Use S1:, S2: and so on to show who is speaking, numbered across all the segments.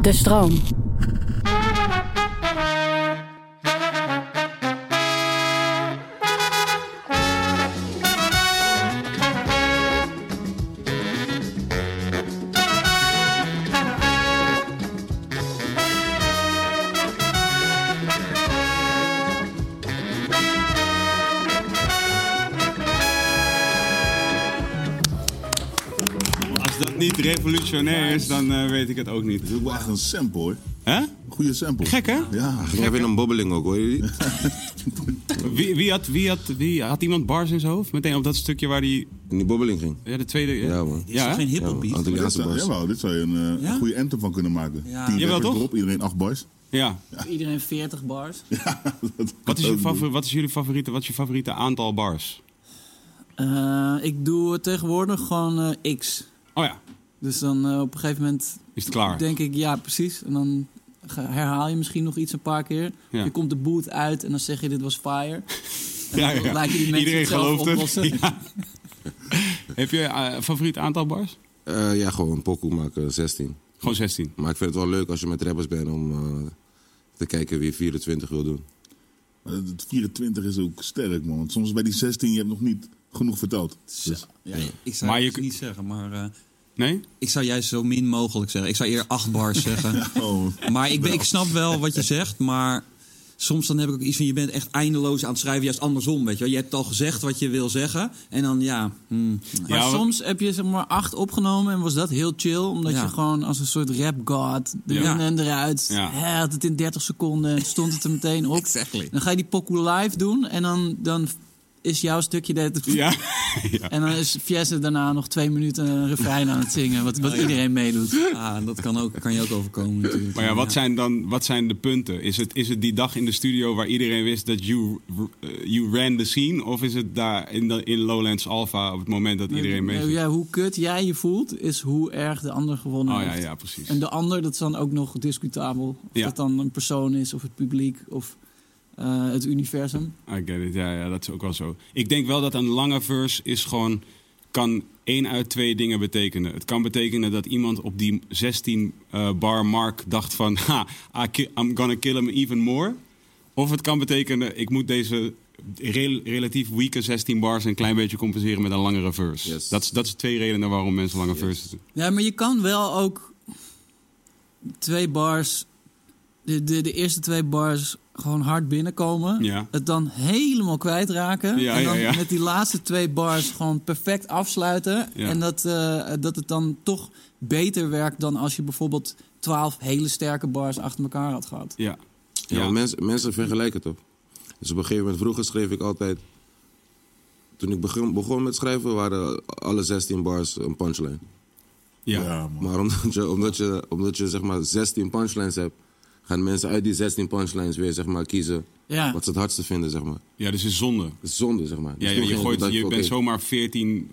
S1: De stroom.
S2: Als dat niet revolutionair is, dan eh, weet ik het ook niet.
S3: Dit is wel echt een sample hoor.
S2: Hè?
S3: Een goede sample.
S2: Gek, hè?
S3: Ja.
S4: Ik heb weer een bobbeling ook, hoor je die?
S2: Wie, wie, had, wie, had, wie had iemand bars in zijn hoofd? Meteen op dat stukje waar die.
S4: En die bobbeling ging.
S2: Ja, de tweede.
S4: Ja, man.
S5: Is
S2: Ja,
S5: dat
S2: hè?
S5: geen
S4: Ja, man.
S5: hippelbeat?
S3: Dit
S4: Antilliaanse
S3: zou,
S4: bas.
S3: jawel, dit zou je een, eh,
S5: Ja?
S3: een goede anthem van kunnen maken.
S5: Ja.
S3: Tien
S2: Jawel,
S3: rappers
S2: toch?
S3: erop, iedereen acht bars.
S2: ja.
S5: Iedereen 40 bars.
S3: Ja, dat
S2: Wat, is
S3: kan
S2: je
S3: ook
S2: favor- wat is jullie favoriete, wat is je favoriete aantal bars?
S5: Eh, ik doe tegenwoordig gewoon eh, X.
S2: Oh ja,
S5: Dus dan eh, op een gegeven moment
S2: is het klaar?
S5: denk ik, ja, precies. En dan ga- herhaal je misschien nog iets een paar keer.
S2: Ja.
S5: Je komt de boot uit en dan zeg je, dit was fire. En
S2: Ja,
S5: dan
S2: ja.
S5: laat je die mensen
S2: Iedereen
S5: het zelf
S2: gelooft
S5: oplossen.
S2: het. Ja. Heb je eh, een favoriet aantal bars?
S4: Eh, ja, gewoon een pokoe maken, 16.
S2: Gewoon 16.
S4: Maar ik vind het wel leuk als je met rappers bent om eh, te kijken wie 24 wil doen.
S3: Maar dat- Het 24 is ook sterk, man. Want soms bij die 16, je hebt nog niet genoeg verteld. Dus,
S5: Ja, ik zou
S2: Maar je
S5: het
S2: kun-
S5: niet zeggen, maar eh,
S2: Nee?
S5: ik zou juist zo min mogelijk zeggen. Ik zou eerder acht bars zeggen.
S3: oh,
S5: Maar ik, ben- ik snap wel wat je zegt, maar soms dan heb ik ook iets van... je bent echt eindeloos aan het schrijven, juist andersom, weet je wel. Je hebt al gezegd wat je wil zeggen en dan ja... hmm.
S2: Maar Ja, wat- soms
S5: heb je zeg maar acht opgenomen en was dat heel chill... omdat je gewoon als een soort rap god
S2: erin Ja.
S5: en eruit...
S2: Ja. hè,
S5: had het in 30 seconden en stond het er meteen op.
S4: Exactly.
S5: Dan ga je die pokoe live doen en dan, dan is jouw stukje... Dat,
S2: Ja. ja.
S5: En dan is Fiesse daarna nog twee minuten een refrein aan het zingen, wat, wat iedereen meedoet. Ah, dat kan, ook, kan je ook overkomen natuurlijk.
S2: Maar ja, wat zijn dan wat zijn de punten? Is het, is het die dag in de studio waar iedereen wist dat you, eh, you ran the scene? Of is het daar in, de, in Lowlands Alpha op het moment dat iedereen mee
S5: Nee,
S2: zit?
S5: Nou ja, hoe kut jij je voelt, is hoe erg de ander gewonnen
S2: Oh ja,
S5: heeft.
S2: ja, precies.
S5: En de ander, dat is dan ook nog discutabel. Of
S2: Ja.
S5: dat dan een persoon is, of het publiek, of eh, het universum.
S2: I get it. Ja, ja, dat is ook wel zo. Ik denk wel dat een lange verse is gewoon... kan één uit twee dingen betekenen. Het kan betekenen dat iemand op die 16 eh, bar mark dacht van... Ha, I ki- I'm gonna kill him even more. Of het kan betekenen, ik moet deze rel- relatief weeke 16 bars... een klein beetje compenseren met een langere verse.
S4: Yes.
S2: Dat, is- dat zijn twee redenen waarom mensen lange verses doen.
S5: Ja, maar je kan wel ook twee bars, de, de, de eerste twee bars gewoon hard binnenkomen.
S2: Ja.
S5: Het dan helemaal kwijtraken.
S2: Ja,
S5: en dan
S2: ja, ja.
S5: met die laatste twee bars gewoon perfect afsluiten.
S2: Ja.
S5: En dat, eh, dat het dan toch beter werkt dan als je bijvoorbeeld twaalf hele sterke bars achter elkaar had gehad.
S2: Ja.
S4: Ja, want Mensen, mensen vergelijken het op. Dus op een gegeven moment, vroeger schreef ik altijd... Toen ik begon, begon met schrijven waren alle 16 bars een punchline.
S2: ja.
S3: ja, man.
S4: Maar omdat je, omdat je, omdat je zeg maar 16 punchlines hebt, gaan mensen uit die 16 punchlines weer zeg maar, kiezen
S5: Ja.
S4: wat ze het hardste vinden. Zeg maar.
S2: Ja, dus het is zonde.
S4: Dat is zonde, zeg maar.
S2: Ja,
S4: Dus
S2: ja,
S4: toen
S2: je
S4: ging-
S2: gooit,
S4: dacht ik,
S2: je bent
S4: oké,
S2: zomaar 14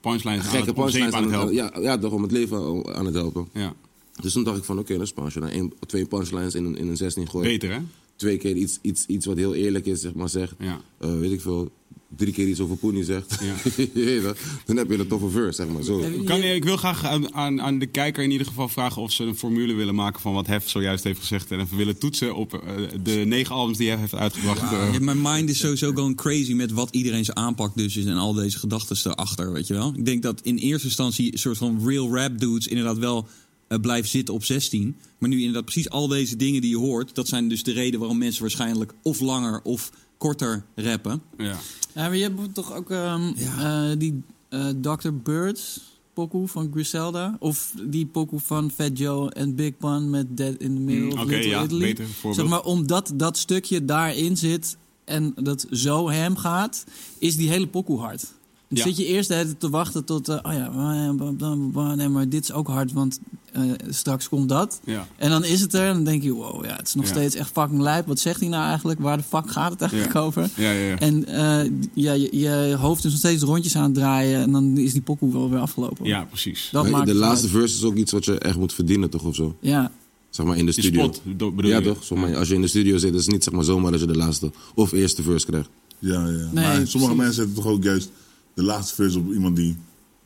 S2: punchlines aan
S4: gekke
S2: het, om zeep
S4: punchlines
S2: aan het helpen.
S4: Ja, ja, toch om het leven al aan het helpen.
S2: ja.
S4: Dus toen dacht ik van, oké, dat is pas. Als je dan één- twee punchlines in een, in een 16 gooit,
S2: Beter, hè?
S4: twee keer iets, iets, iets wat heel eerlijk is, zeg maar, zegt.
S2: Ja.
S4: Eh, weet ik veel, drie keer iets over Poenie zegt.
S2: Ja.
S4: Je weet dat. dan heb je een toffe verse, zeg maar, zo.
S2: Kan, ik wil graag aan, aan, aan de kijker in ieder geval vragen of ze een formule willen maken van wat Hef zojuist heeft gezegd. En even willen toetsen op eh, de negen albums die Hef heeft uitgebracht. Eh,
S6: Ja, mijn mind is sowieso gewoon crazy met wat iedereen zijn aanpak dus is en al deze gedachten erachter, weet je wel. Ik denk dat in eerste instantie een soort van real rap dudes inderdaad wel eh, blijven zitten op 16. Maar nu inderdaad precies al deze dingen die je hoort, dat zijn dus de reden waarom mensen waarschijnlijk of langer of korter rappen.
S2: ja.
S5: Ja, maar je hebt toch ook ehm, eh, die eh, Dr. Birds pokoe van Griselda. Of die pokoe van Fat Joe en Big Pun met Dead in the Middle
S2: Mm,
S5: of
S2: oké,
S5: Little
S2: ja,
S5: Italy.
S2: beter voorbeeld.
S5: Zeg maar, omdat dat stukje daarin zit en dat zo hem gaat, is die hele pokoe hard. Dan
S2: Ja.
S5: zit je eerst de hele tijd te wachten tot... eh, oh ja, eh, bla, bla, bla, nee, maar dit is ook hard, want eh, straks komt dat.
S2: Ja.
S5: En dan is het er en dan denk je... Wow, ja, het is nog
S2: Ja.
S5: steeds echt fucking lijp. Wat zegt hij nou eigenlijk? Waar de fuck gaat het eigenlijk
S2: Ja.
S5: over?
S2: Ja, ja, ja.
S5: En eh, ja, je, je hoofd is nog steeds rondjes aan het draaien... en dan is die pokoe wel weer afgelopen.
S2: ja, precies.
S5: Dat
S4: Weet je,
S5: maakt
S4: de
S5: het
S4: laatste
S5: uit.
S4: verse is ook iets wat je echt moet verdienen, toch? Of zo.
S5: Ja,
S4: Zeg maar in de
S2: Die
S4: studio.
S2: spot, do- bedoel
S4: ja,
S2: je?
S4: toch? Zeg maar, als je in de studio zit, is het niet zeg maar, zomaar dat je de laatste of eerste verse krijgt.
S3: Ja, ja. maar
S5: precies.
S3: sommige mensen zetten toch ook juist de laatste vers op iemand die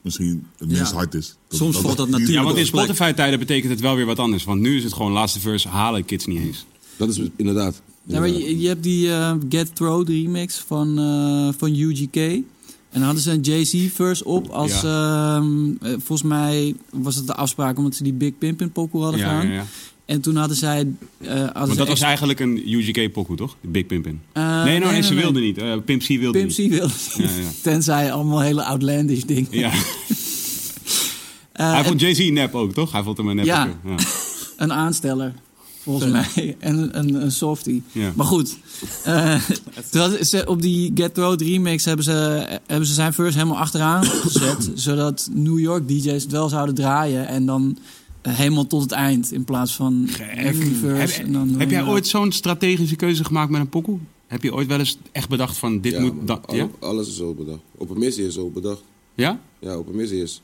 S3: misschien het
S7: Ja.
S3: minst hard is.
S7: Soms valt dat natuurlijk
S2: Ja,
S7: op
S2: want in
S7: de plek.
S2: Spotify-tijden betekent het wel weer wat anders. Want nu is het gewoon laatste verse halen kids niet eens.
S4: Dat is inderdaad.
S5: Ja, maar je, je hebt die eh, Get Throw de remix van, eh, van UGK. En dan hadden ze een Jay-Z verse op als... ehm, eh, volgens mij was het de afspraak omdat ze die Big Pimpin pokoe hadden
S2: Ja, ja,
S5: gedaan.
S2: ja.
S5: En toen hadden zij... eh, hadden
S2: Want dat
S5: ze
S2: was
S5: extra-
S2: eigenlijk een UGK-pokoe, toch? De Big Pimpin.
S5: Eh,
S2: nee, nou,
S5: nee,
S2: nee, ze
S5: nee,
S2: wilde
S5: nee.
S2: niet. Eh, Pimp C wilde
S5: Pimp C
S2: niet.
S5: wilde
S2: Ja, ja.
S5: Tenzij allemaal hele outlandish dingen.
S2: Ja.
S5: Eh,
S2: Hij
S5: en-
S2: vond Jay-Z nep ook, toch? Hij vond hem een nep.
S5: Ja.
S2: ook, ja.
S5: Een aansteller, volgens mij. En een, een, een softie.
S2: Ja.
S5: Maar goed. eh, toen hadden ze, op die Get Road remix hebben ze, hebben ze zijn verse helemaal achteraan gezet. zodat New York DJ's het wel zouden draaien. En dan eh, helemaal tot het eind. In plaats van every verse.
S2: Heb,
S5: en dan
S2: heb jij
S5: eh,
S2: ooit zo'n strategische keuze gemaakt met een pokoe? Heb je ooit wel eens echt bedacht van dit
S4: Ja, man.
S2: moet... Dat,
S4: Al-
S2: ja?
S4: Alles is zo bedacht. Op een missie is zo bedacht.
S2: ja?
S4: Ja, op een missie is.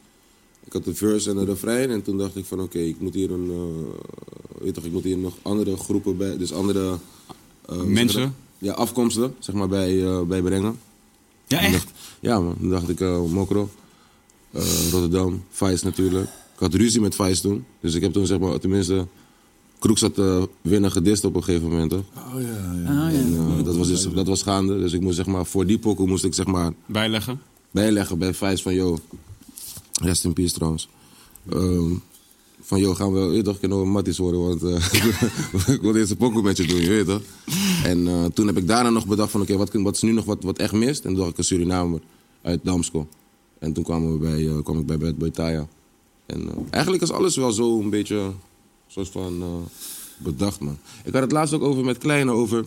S4: Ik had de verse en de refrein en toen dacht ik van oké, ik moet hier een, eh, weet toch, ik moet hier nog andere groepen bij, dus andere eh, hoe zeg je
S2: Mensen?
S4: dat? Ja, afkomsten, zeg maar, bij, eh, bij brengen.
S2: Ja,
S4: Toen
S2: echt?
S4: dacht- ja, man. Toen dacht ik, eh Mokro, eh, Rotterdam, Vice natuurlijk. Ik had ruzie met Vice toen. Dus ik heb toen, zeg maar, tenminste... Kroeks had eh winnen gedist op een gegeven moment, toch?
S3: Oh ja, ja.
S5: ah, ja.
S4: En, eh, dat, was dus, dat was gaande. Dus ik moest, zeg maar, voor die pokoe moest ik, zeg maar,
S2: Bijleggen?
S4: bijleggen bij Vice van, yo... Rest in peace, trouwens. Ehm, van, yo, gaan we, je weet toch, kunnen we matties worden, want eh, ik wil deze pokoe met je doen, je weet toch? En eh, toen heb ik daarna nog bedacht van, oké, wat, kun- wat is nu nog wat, wat echt mist? En toen dacht ik een Surinamer uit Damsko. En toen kwamen we bij, eh, kwam ik bij Bad Boy Taya. En eh, eigenlijk is alles wel zo een beetje, soort van, eh, bedacht, man. Ik had het laatst ook over met Kleine, over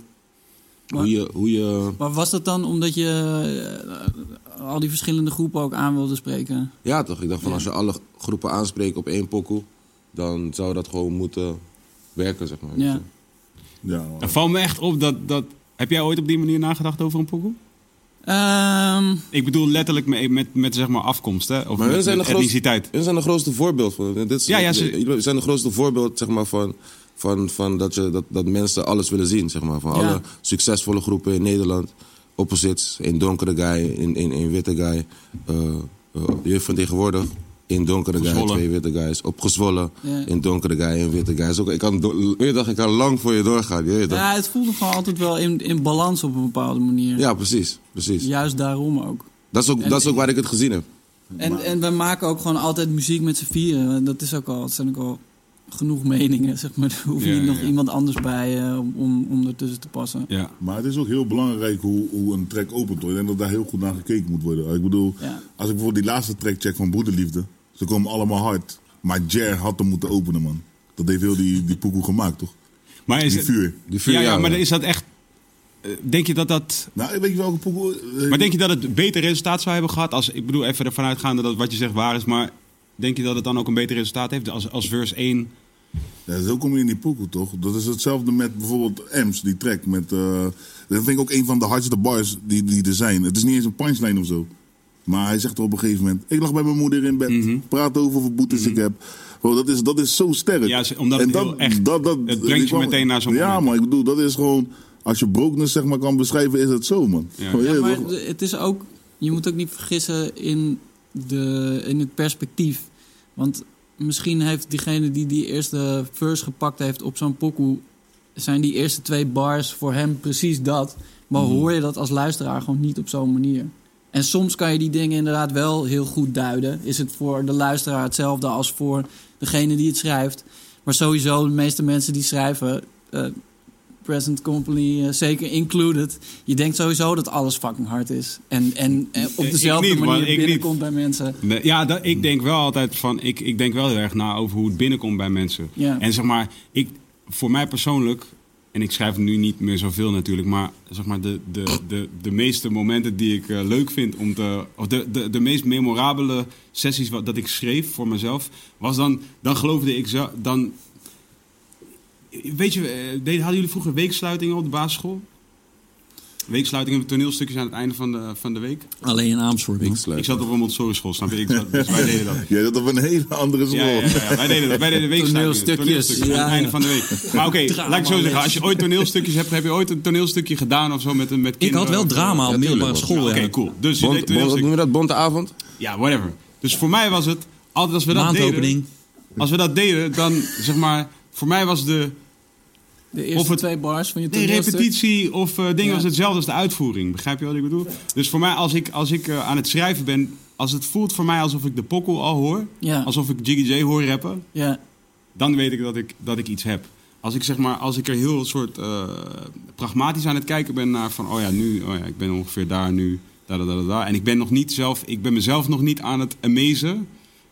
S4: hoe je, hoe je...
S5: Maar was dat dan omdat je eh, al die verschillende groepen ook aan wilde spreken?
S4: Ja, toch? Ik dacht van als je alle groepen aanspreekt op één pokoe, dan zou dat gewoon moeten werken, zeg maar.
S5: Ja.
S3: ja man.
S2: Dan valt me echt op dat, dat... Heb jij ooit op die manier nagedacht over een pokoe?
S5: Ehm,
S2: Ik bedoel letterlijk met, met, met zeg maar afkomst, hè? Of
S4: Maar
S2: met,
S4: hun zijn, de
S2: met
S4: grootste,
S2: etniciteit.
S4: hun zijn de grootste voorbeeld van. Dit is,
S2: Ja, ja, ze-
S4: jullie zijn de grootste voorbeeld zeg maar, van, van, van dat, je, dat, dat mensen alles willen zien. Zeg maar, van
S5: Ja.
S4: alle succesvolle groepen in Nederland. Opposites, een donkere guy, een, een, een witte guy. eh eh, jeugd van tegenwoordig, een donkere guy,
S2: Gezwollen.
S4: twee witte guys. Opgezwollen,
S5: Ja.
S4: een donkere guy, een witte guy. Is ook- ik, kan, do- je dacht, ik kan lang voor je doorgaan. Je weet toch?
S5: ja, het voelde gewoon altijd wel in, in balans op een bepaalde manier.
S4: Ja, precies. precies.
S5: Juist daarom ook.
S4: Dat, is ook, dat is ook waar ik het gezien heb.
S5: En, en wij maken ook gewoon altijd muziek met z'n vieren. Dat is ook al, dat zijn ook al genoeg meningen, zeg maar. Daar hoef je
S2: Ja,
S5: niet
S2: ja,
S5: nog
S2: ja.
S5: iemand anders bij eh, om, om ertussen te passen.
S2: Ja.
S3: Maar het is ook heel belangrijk hoe, hoe een track opent. Hoor. Ik denk dat daar heel goed naar gekeken moet worden. Ik bedoel,
S5: Ja.
S3: als ik bijvoorbeeld die laatste track check van Broederliefde. Ze komen allemaal hard. Maar Jer had hem moeten openen, man. Dat heeft heel die, die pokoe gemaakt, toch?
S2: Maar is
S3: Die
S2: het-
S3: vuur.
S4: Die vier
S2: ja, ja,
S4: jaar,
S2: maar
S4: ja.
S2: dan is dat echt... eh, Denk je dat dat...
S3: Nou, weet je welke pokoe... eh,
S2: Maar denk je dat het beter resultaat zou hebben gehad? Als, ik bedoel, even ervan uitgaande dat wat je zegt waar is, maar denk je dat het dan ook een beter resultaat heeft als, als verse 1?
S3: Ja, zo kom je in die pokoe, toch? Dat is hetzelfde met bijvoorbeeld Ems, die track. Met, eh, dat vind ik ook een van de hardste bars die, die er zijn. Het is niet eens een punchline of zo. Maar hij zegt op een gegeven moment... Ik lag bij mijn moeder in bed.
S2: Mhm.
S3: Praat over hoeveel boetes ik heb. Bro, dat, is, dat is zo sterk.
S2: Ja, ze- omdat
S3: En
S2: het heel echt- het brengt je
S3: ik kwam-
S2: meteen naar zo'n
S3: Ja,
S2: moment.
S3: maar ik bedoel, dat is gewoon... Als je brokenness zeg maar, kan beschrijven, is het zo, man.
S2: Ja.
S3: Gewoon,
S5: Ja,
S3: ja,
S5: maar
S3: toch?
S5: de- het is ook, je moet ook niet vergissen in, de, in het perspectief. Want misschien heeft diegene die die eerste verse gepakt heeft op zo'n pokoe... zijn die eerste twee bars voor hem precies dat. Maar hoor je dat als luisteraar gewoon niet op zo'n manier. En soms kan je die dingen inderdaad wel heel goed duiden. Is het voor de luisteraar hetzelfde als voor degene die het schrijft. Maar sowieso, de meeste mensen die schrijven... eh, present company eh, zeker included. Je denkt sowieso dat alles fucking hard is. En, en, eh, op
S2: Ik
S5: dezelfde
S2: niet, man,
S5: manier
S2: ik
S5: binnenkomt bij mensen.
S2: Nee, ja, dat, ik denk wel altijd van, ik, ik denk wel heel erg na over hoe het binnenkomt bij mensen.
S5: Ja.
S2: En zeg maar, ik, voor mij persoonlijk En ik schrijf nu niet meer zoveel natuurlijk, maar zeg maar de, de, de, de meeste momenten die ik eh, leuk vind om te. Of de, de, de meest memorabele sessies wat, dat ik schreef voor mezelf, was dan. Dan geloofde ik zo. Dan. Weet je, eh, deden- hadden jullie vroeger weeksluitingen op de basisschool? Weeksluitingen met toneelstukjes aan het einde van de, van de week?
S5: Alleen in Amersfoort. man.
S4: Ik sluit.
S2: Ik zat op een Montessori school, snap je? Ik zat, dus wij deden dat.
S3: Jij dat op een hele andere
S2: Ja, ja,
S3: school.
S2: ja, ja. wij deden dat. Wij deden weeksluitingen.
S6: Toneelstukjes.
S2: aan
S6: Ja,
S2: het
S6: ja.
S2: einde van de week. Maar oké, laat ik zo zeggen. Als je ooit toneelstukjes hebt, heb je ooit een toneelstukje gedaan of zo met, een- met
S5: Ik
S2: kinderen?
S5: had wel drama op
S4: Ja, tuurlijk,
S5: middelbare
S4: man.
S5: school.
S2: Ja, Oké,
S5: ja.
S2: cool. Dus je deed
S4: Bond, bond,
S2: toneelstukjes.
S4: noem je dat? Bonte avond?
S2: Ja, whatever. Dus voor mij was het, altijd als we dat
S5: Maandopening.
S2: deden... Als we dat deden, dan zeg maar... Voor mij was de,
S6: De eerste
S2: Of het-
S6: twee bars van je
S2: de
S6: toneelstuk.
S2: repetitie of eh ding
S6: Ja.
S2: was hetzelfde als de uitvoering. Begrijp je wat ik bedoel? Dus voor mij, als ik, als ik eh, aan het schrijven ben... Als het voelt voor mij alsof ik de pokkel al hoor...
S6: Ja.
S2: Alsof ik Jiggy J hoor rappen...
S6: Ja,
S2: dan weet ik dat ik, dat ik iets heb. Als ik, zeg maar, als ik er heel soort eh, pragmatisch aan het kijken ben naar van... oh ja, nu, oh ja, ik ben ongeveer daar nu, da, da, da, da, da. En ik ben, nog niet zelf, ik ben mezelf nog niet aan het amazen.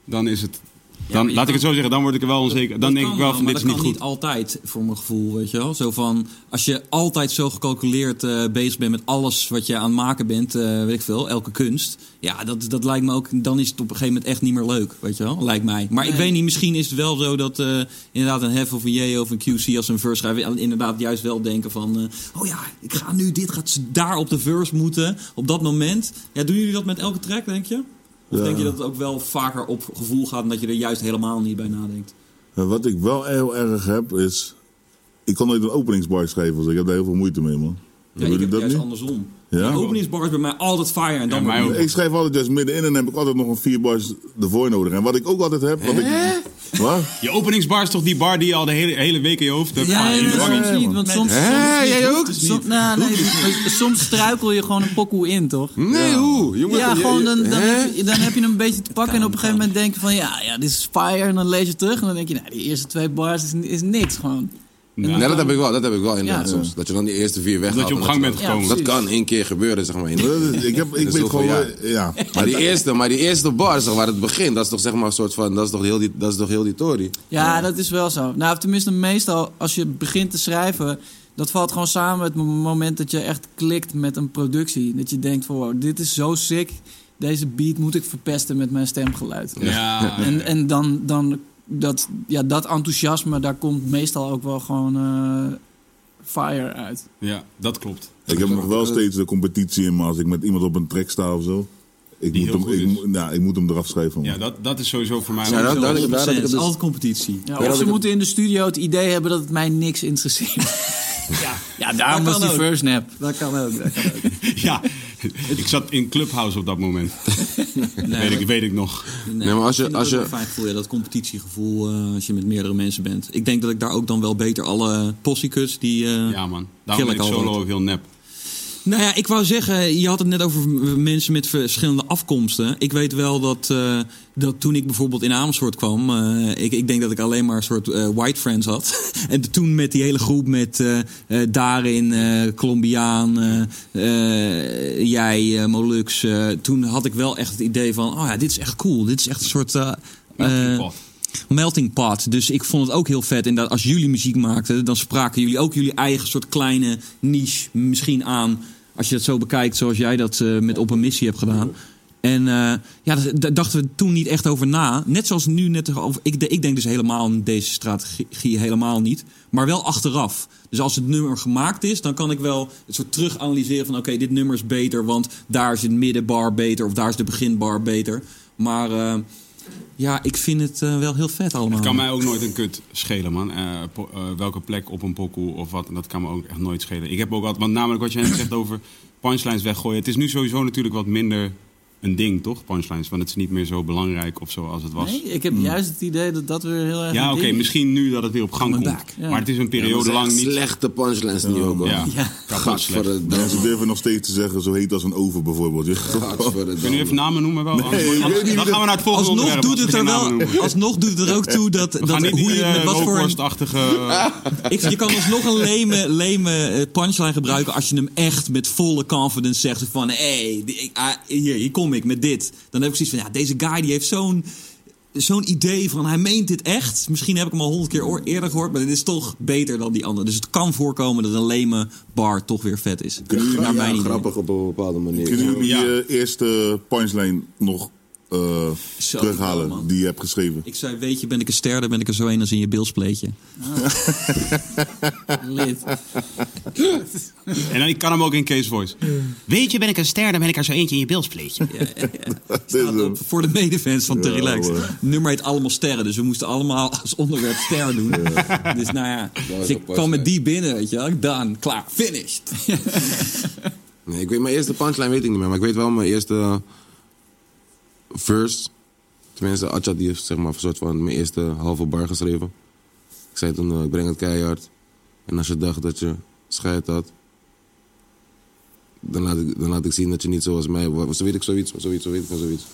S2: Dan is het... Dan,
S5: je
S2: laat
S5: kan-
S2: ik het zo zeggen, dan word ik er wel onzeker. Dan
S5: Dat
S2: denk
S5: kan
S2: ik wel van,
S5: maar
S2: dit is
S5: dat
S2: niet
S5: kan
S2: goed.
S5: niet altijd, voor mijn gevoel, weet je wel. Zo van, als je altijd zo gecalculeerd eh, bezig bent met alles wat je aan het maken bent, eh, weet ik veel, elke kunst. Ja, dat, dat lijkt me ook, dan is het op een gegeven moment echt niet meer leuk, weet je wel, lijkt mij. Maar ik weet niet, misschien is het wel zo dat eh, inderdaad een Hef of een J of een QC als ze een verse schrijven, inderdaad juist wel denken van, eh, oh ja, ik ga nu dit, gaat ze daar op de verse moeten, op dat moment. Ja, doen jullie dat met elke track, denk je? Of denk je dat het ook wel vaker op gevoel gaat en dat je er juist helemaal niet bij nadenkt?
S3: Ja, Nou, Wat ik wel heel erg heb is. Ik kan nooit een openingsbar schrijven, dus ik heb daar heel veel moeite mee, man.
S5: Ja,
S3: Hebben jullie
S5: ik heb
S3: dat
S5: juist
S3: niet?
S5: andersom.
S3: Ja?
S5: De openingsbar is bij mij altijd fire en dan
S2: Ja, mij
S5: weer-
S2: ook.
S3: Ik schrijf altijd juist middenin en heb ik altijd nog een vier bars ervoor nodig. En wat ik ook altijd heb. Wat ik, wat?
S2: Je openingsbar is toch die bar die je al de hele, hele week in je hoofd hebt?
S6: Ja,
S2: Ah, in
S6: nee,
S2: je
S6: dat
S2: wang.
S6: soms niet, want soms...
S4: Hè,
S6: soms-
S4: jij ook?
S6: Som- nou, nee, maar soms struikel je gewoon een pokoe in, toch?
S4: Nee, hoe? Jongen,
S6: Ja,
S4: je-
S6: gewoon dan, dan,
S4: hè?
S6: heb je, dan heb je hem een beetje te pakken en op een gegeven moment denk je van... Ja, ja, dit is fire en dan lees je terug en dan denk je... Nou, die eerste twee bars is, is niks gewoon.
S4: Nee, dat heb ik wel, dat heb ik wel inderdaad
S6: Ja.
S4: soms. Dat je dan die eerste vier weg
S2: Omdat je op gang bent gekomen.
S4: Dat kan één keer gebeuren, zeg maar. in-
S3: Dat is- Ik, heb, ik
S4: Dat is
S3: weet
S4: heel
S3: gewoon.
S4: veel,
S3: Ja.
S4: ja.
S3: ja.
S4: Maar die eerste, maar die eerste bar, zeg maar, het begin, dat is toch zeg maar een soort van, dat is toch heel die, dat is toch heel die tory.
S6: Ja, dat is wel zo. Nou, tenminste, meestal als je begint te schrijven, dat valt gewoon samen met het moment dat je echt klikt met een productie. Dat je denkt van, wow, dit is zo sick. Deze beat moet ik verpesten met mijn stemgeluid.
S2: Ja,
S6: En, en dan, dan dat, ja, dat enthousiasme, daar komt meestal ook wel gewoon eh, fire uit.
S2: ja, dat klopt.
S3: Ik heb nog wel steeds de competitie in me als ik met iemand op een trek sta of zo. Ik,
S2: Die
S3: moet
S2: heel
S3: hem,
S2: goed
S3: ik,
S2: is.
S3: moet- nou, ik moet hem eraf schrijven. man.
S2: Ja, dat, dat is sowieso voor mij...
S4: Ja, dat- dat- dat- dat-
S5: Het
S4: dat-
S5: is
S4: dat-
S5: altijd competitie.
S6: Ja,
S4: Ja,
S6: of
S4: dat
S6: ze
S4: ik-
S6: moeten in de studio het idee hebben dat het mij niks interesseert. ja, daarom
S5: dat
S6: was
S5: kan
S6: die
S5: ook.
S6: first nap. Dat kan ook.
S2: Ja, ik zat in Clubhouse op dat moment. weet, ik, weet ik nog.
S4: Nee, maar als je-
S5: ik vind
S4: als
S5: dat ook
S4: je-
S5: een fijn gevoel, ja, dat competitiegevoel eh, als je met meerdere mensen bent. Ik denk dat ik daar ook dan wel beter alle possiekuts die... eh,
S2: Ja, man.
S5: Kill
S2: Daarom ben
S5: ik
S2: ik solo
S5: altijd.
S2: ook heel nep.
S5: Nou ja, ik wou zeggen, je had het net over m- mensen met verschillende afkomsten. Ik weet wel dat, eh, dat toen ik bijvoorbeeld in Amersfoort kwam, eh, ik, ik denk dat ik alleen maar een soort eh, white friends had. en toen met die hele groep met eh, eh, daarin eh, Colombiaan, eh, eh, jij, eh, Molux. eh, toen had ik wel echt het idee van, oh ja, dit is echt cool. Dit is echt een soort... eh,
S2: Melting
S5: eh,
S2: pot.
S5: melting pot. Dus ik vond het ook heel vet. En dat als jullie muziek maakten, dan spraken jullie ook jullie eigen soort kleine niche misschien aan. Als je dat zo bekijkt, zoals jij dat eh, met Op een Missie hebt gedaan. En eh, ja, daar- daar dachten we toen niet echt over na. Net zoals nu net over. Ik, de- ik denk dus helemaal aan deze strategie, helemaal niet. Maar wel achteraf. Dus als het nummer gemaakt is, dan kan ik wel het soort terug analyseren van: oké, dit nummer is beter, want daar is het middenbar beter of daar is de beginbar beter. Maar eh, ja, ik vind het eh, wel heel vet allemaal.
S2: Het kan mij ook nooit een kut schelen, man. Eh, po- eh, welke plek op een pokoe of wat, dat kan me ook echt nooit schelen. Ik heb ook wat, want namelijk wat jij net zegt over punchlines weggooien. Het is nu sowieso natuurlijk wat minder een ding, toch? Punchlines, want het is niet meer zo belangrijk of zo als het was.
S6: Nee, ik heb juist het idee dat dat weer heel erg
S2: Hmm. ja,
S6: een
S2: oké,
S6: ding is.
S2: misschien nu dat het weer op gang
S5: Coming
S2: komt.
S5: back,
S6: ja.
S2: Maar het is een periode
S4: Ja, maar
S2: lang
S4: echt
S2: niet.
S4: Slechte punchlines nu ook, hoor.
S2: Ja,
S6: Ja.
S2: kapot slecht. Kun
S3: Mensen
S4: Godverdamme.
S3: durven nog steeds te zeggen, zo heet als een oven bijvoorbeeld.
S2: je nu even
S4: Godverdamme.
S2: namen noemen wel? Anders-
S3: ik weet
S2: anders-
S3: niet wie
S2: dan
S3: dat-
S2: gaan we naar het volgende
S5: Alsnog
S2: onderwerp.
S5: doet het er
S2: Geen namen
S5: wel,
S2: noemen.
S5: alsnog doet het er ook toe dat,
S2: We
S5: dat
S2: gaan niet
S5: hoe
S2: die
S5: je met
S2: eh,
S5: wat voor een-
S2: rookworstachtige... eh,
S5: ik, je kan alsnog een leme, leme eh, punchline gebruiken als je hem echt met volle confidence zegt van hé, hey, die- ik- ah, hier, hier kom ik met dit. Dan heb ik zoiets van ja, deze guy die heeft zo'n eh, zo'n idee van hij meent dit echt. Misschien heb ik hem al honderd keer oor- eerder gehoord, maar dit is toch beter dan die andere. Dus het kan voorkomen dat een leme bar toch weer vet is.
S4: Ja,
S5: Naar mijn idee.
S4: grappig op een bepaalde manier.
S3: Kunnen jullie
S2: Ja.
S3: je eerste punchline nog eh,
S5: Zo,
S3: terughalen
S5: man.
S3: die je hebt geschreven?
S5: Ik zei, weet je, ben ik een ster, dan ben ik er zo een als in je bilspleetje.
S6: Lid.
S2: En dan, ik kan hem ook in Case Voice.
S8: Weet je, ben ik een ster, dan ben ik er zo eentje in je bilspleetje.
S3: Dat is
S5: Staat
S3: hem.
S5: op voor de medefans van Te
S3: Ja,
S5: Relaxed.
S3: hoor.
S5: Nummer heet Allemaal Sterren, dus we moesten allemaal als onderwerp ster doen. Dus nou ja, dus ik
S4: apart,
S5: kwam met
S4: hè.
S5: die binnen, weet je wel. Daan, klaar, finished.
S4: Nee, ik weet mijn eerste punchline weet ik niet meer, maar ik weet wel mijn eerste eh, verse. Tenminste, Atja die heeft zeg maar een soort van mijn eerste halve bar geschreven. Ik zei toen, eh, ik breng het keihard. En als je dacht dat je scheid had, dan laat ik, dan laat ik zien dat je niet zoals mij was. Zo weet ik zoiets, zoiets, zo weet ik van zoiets.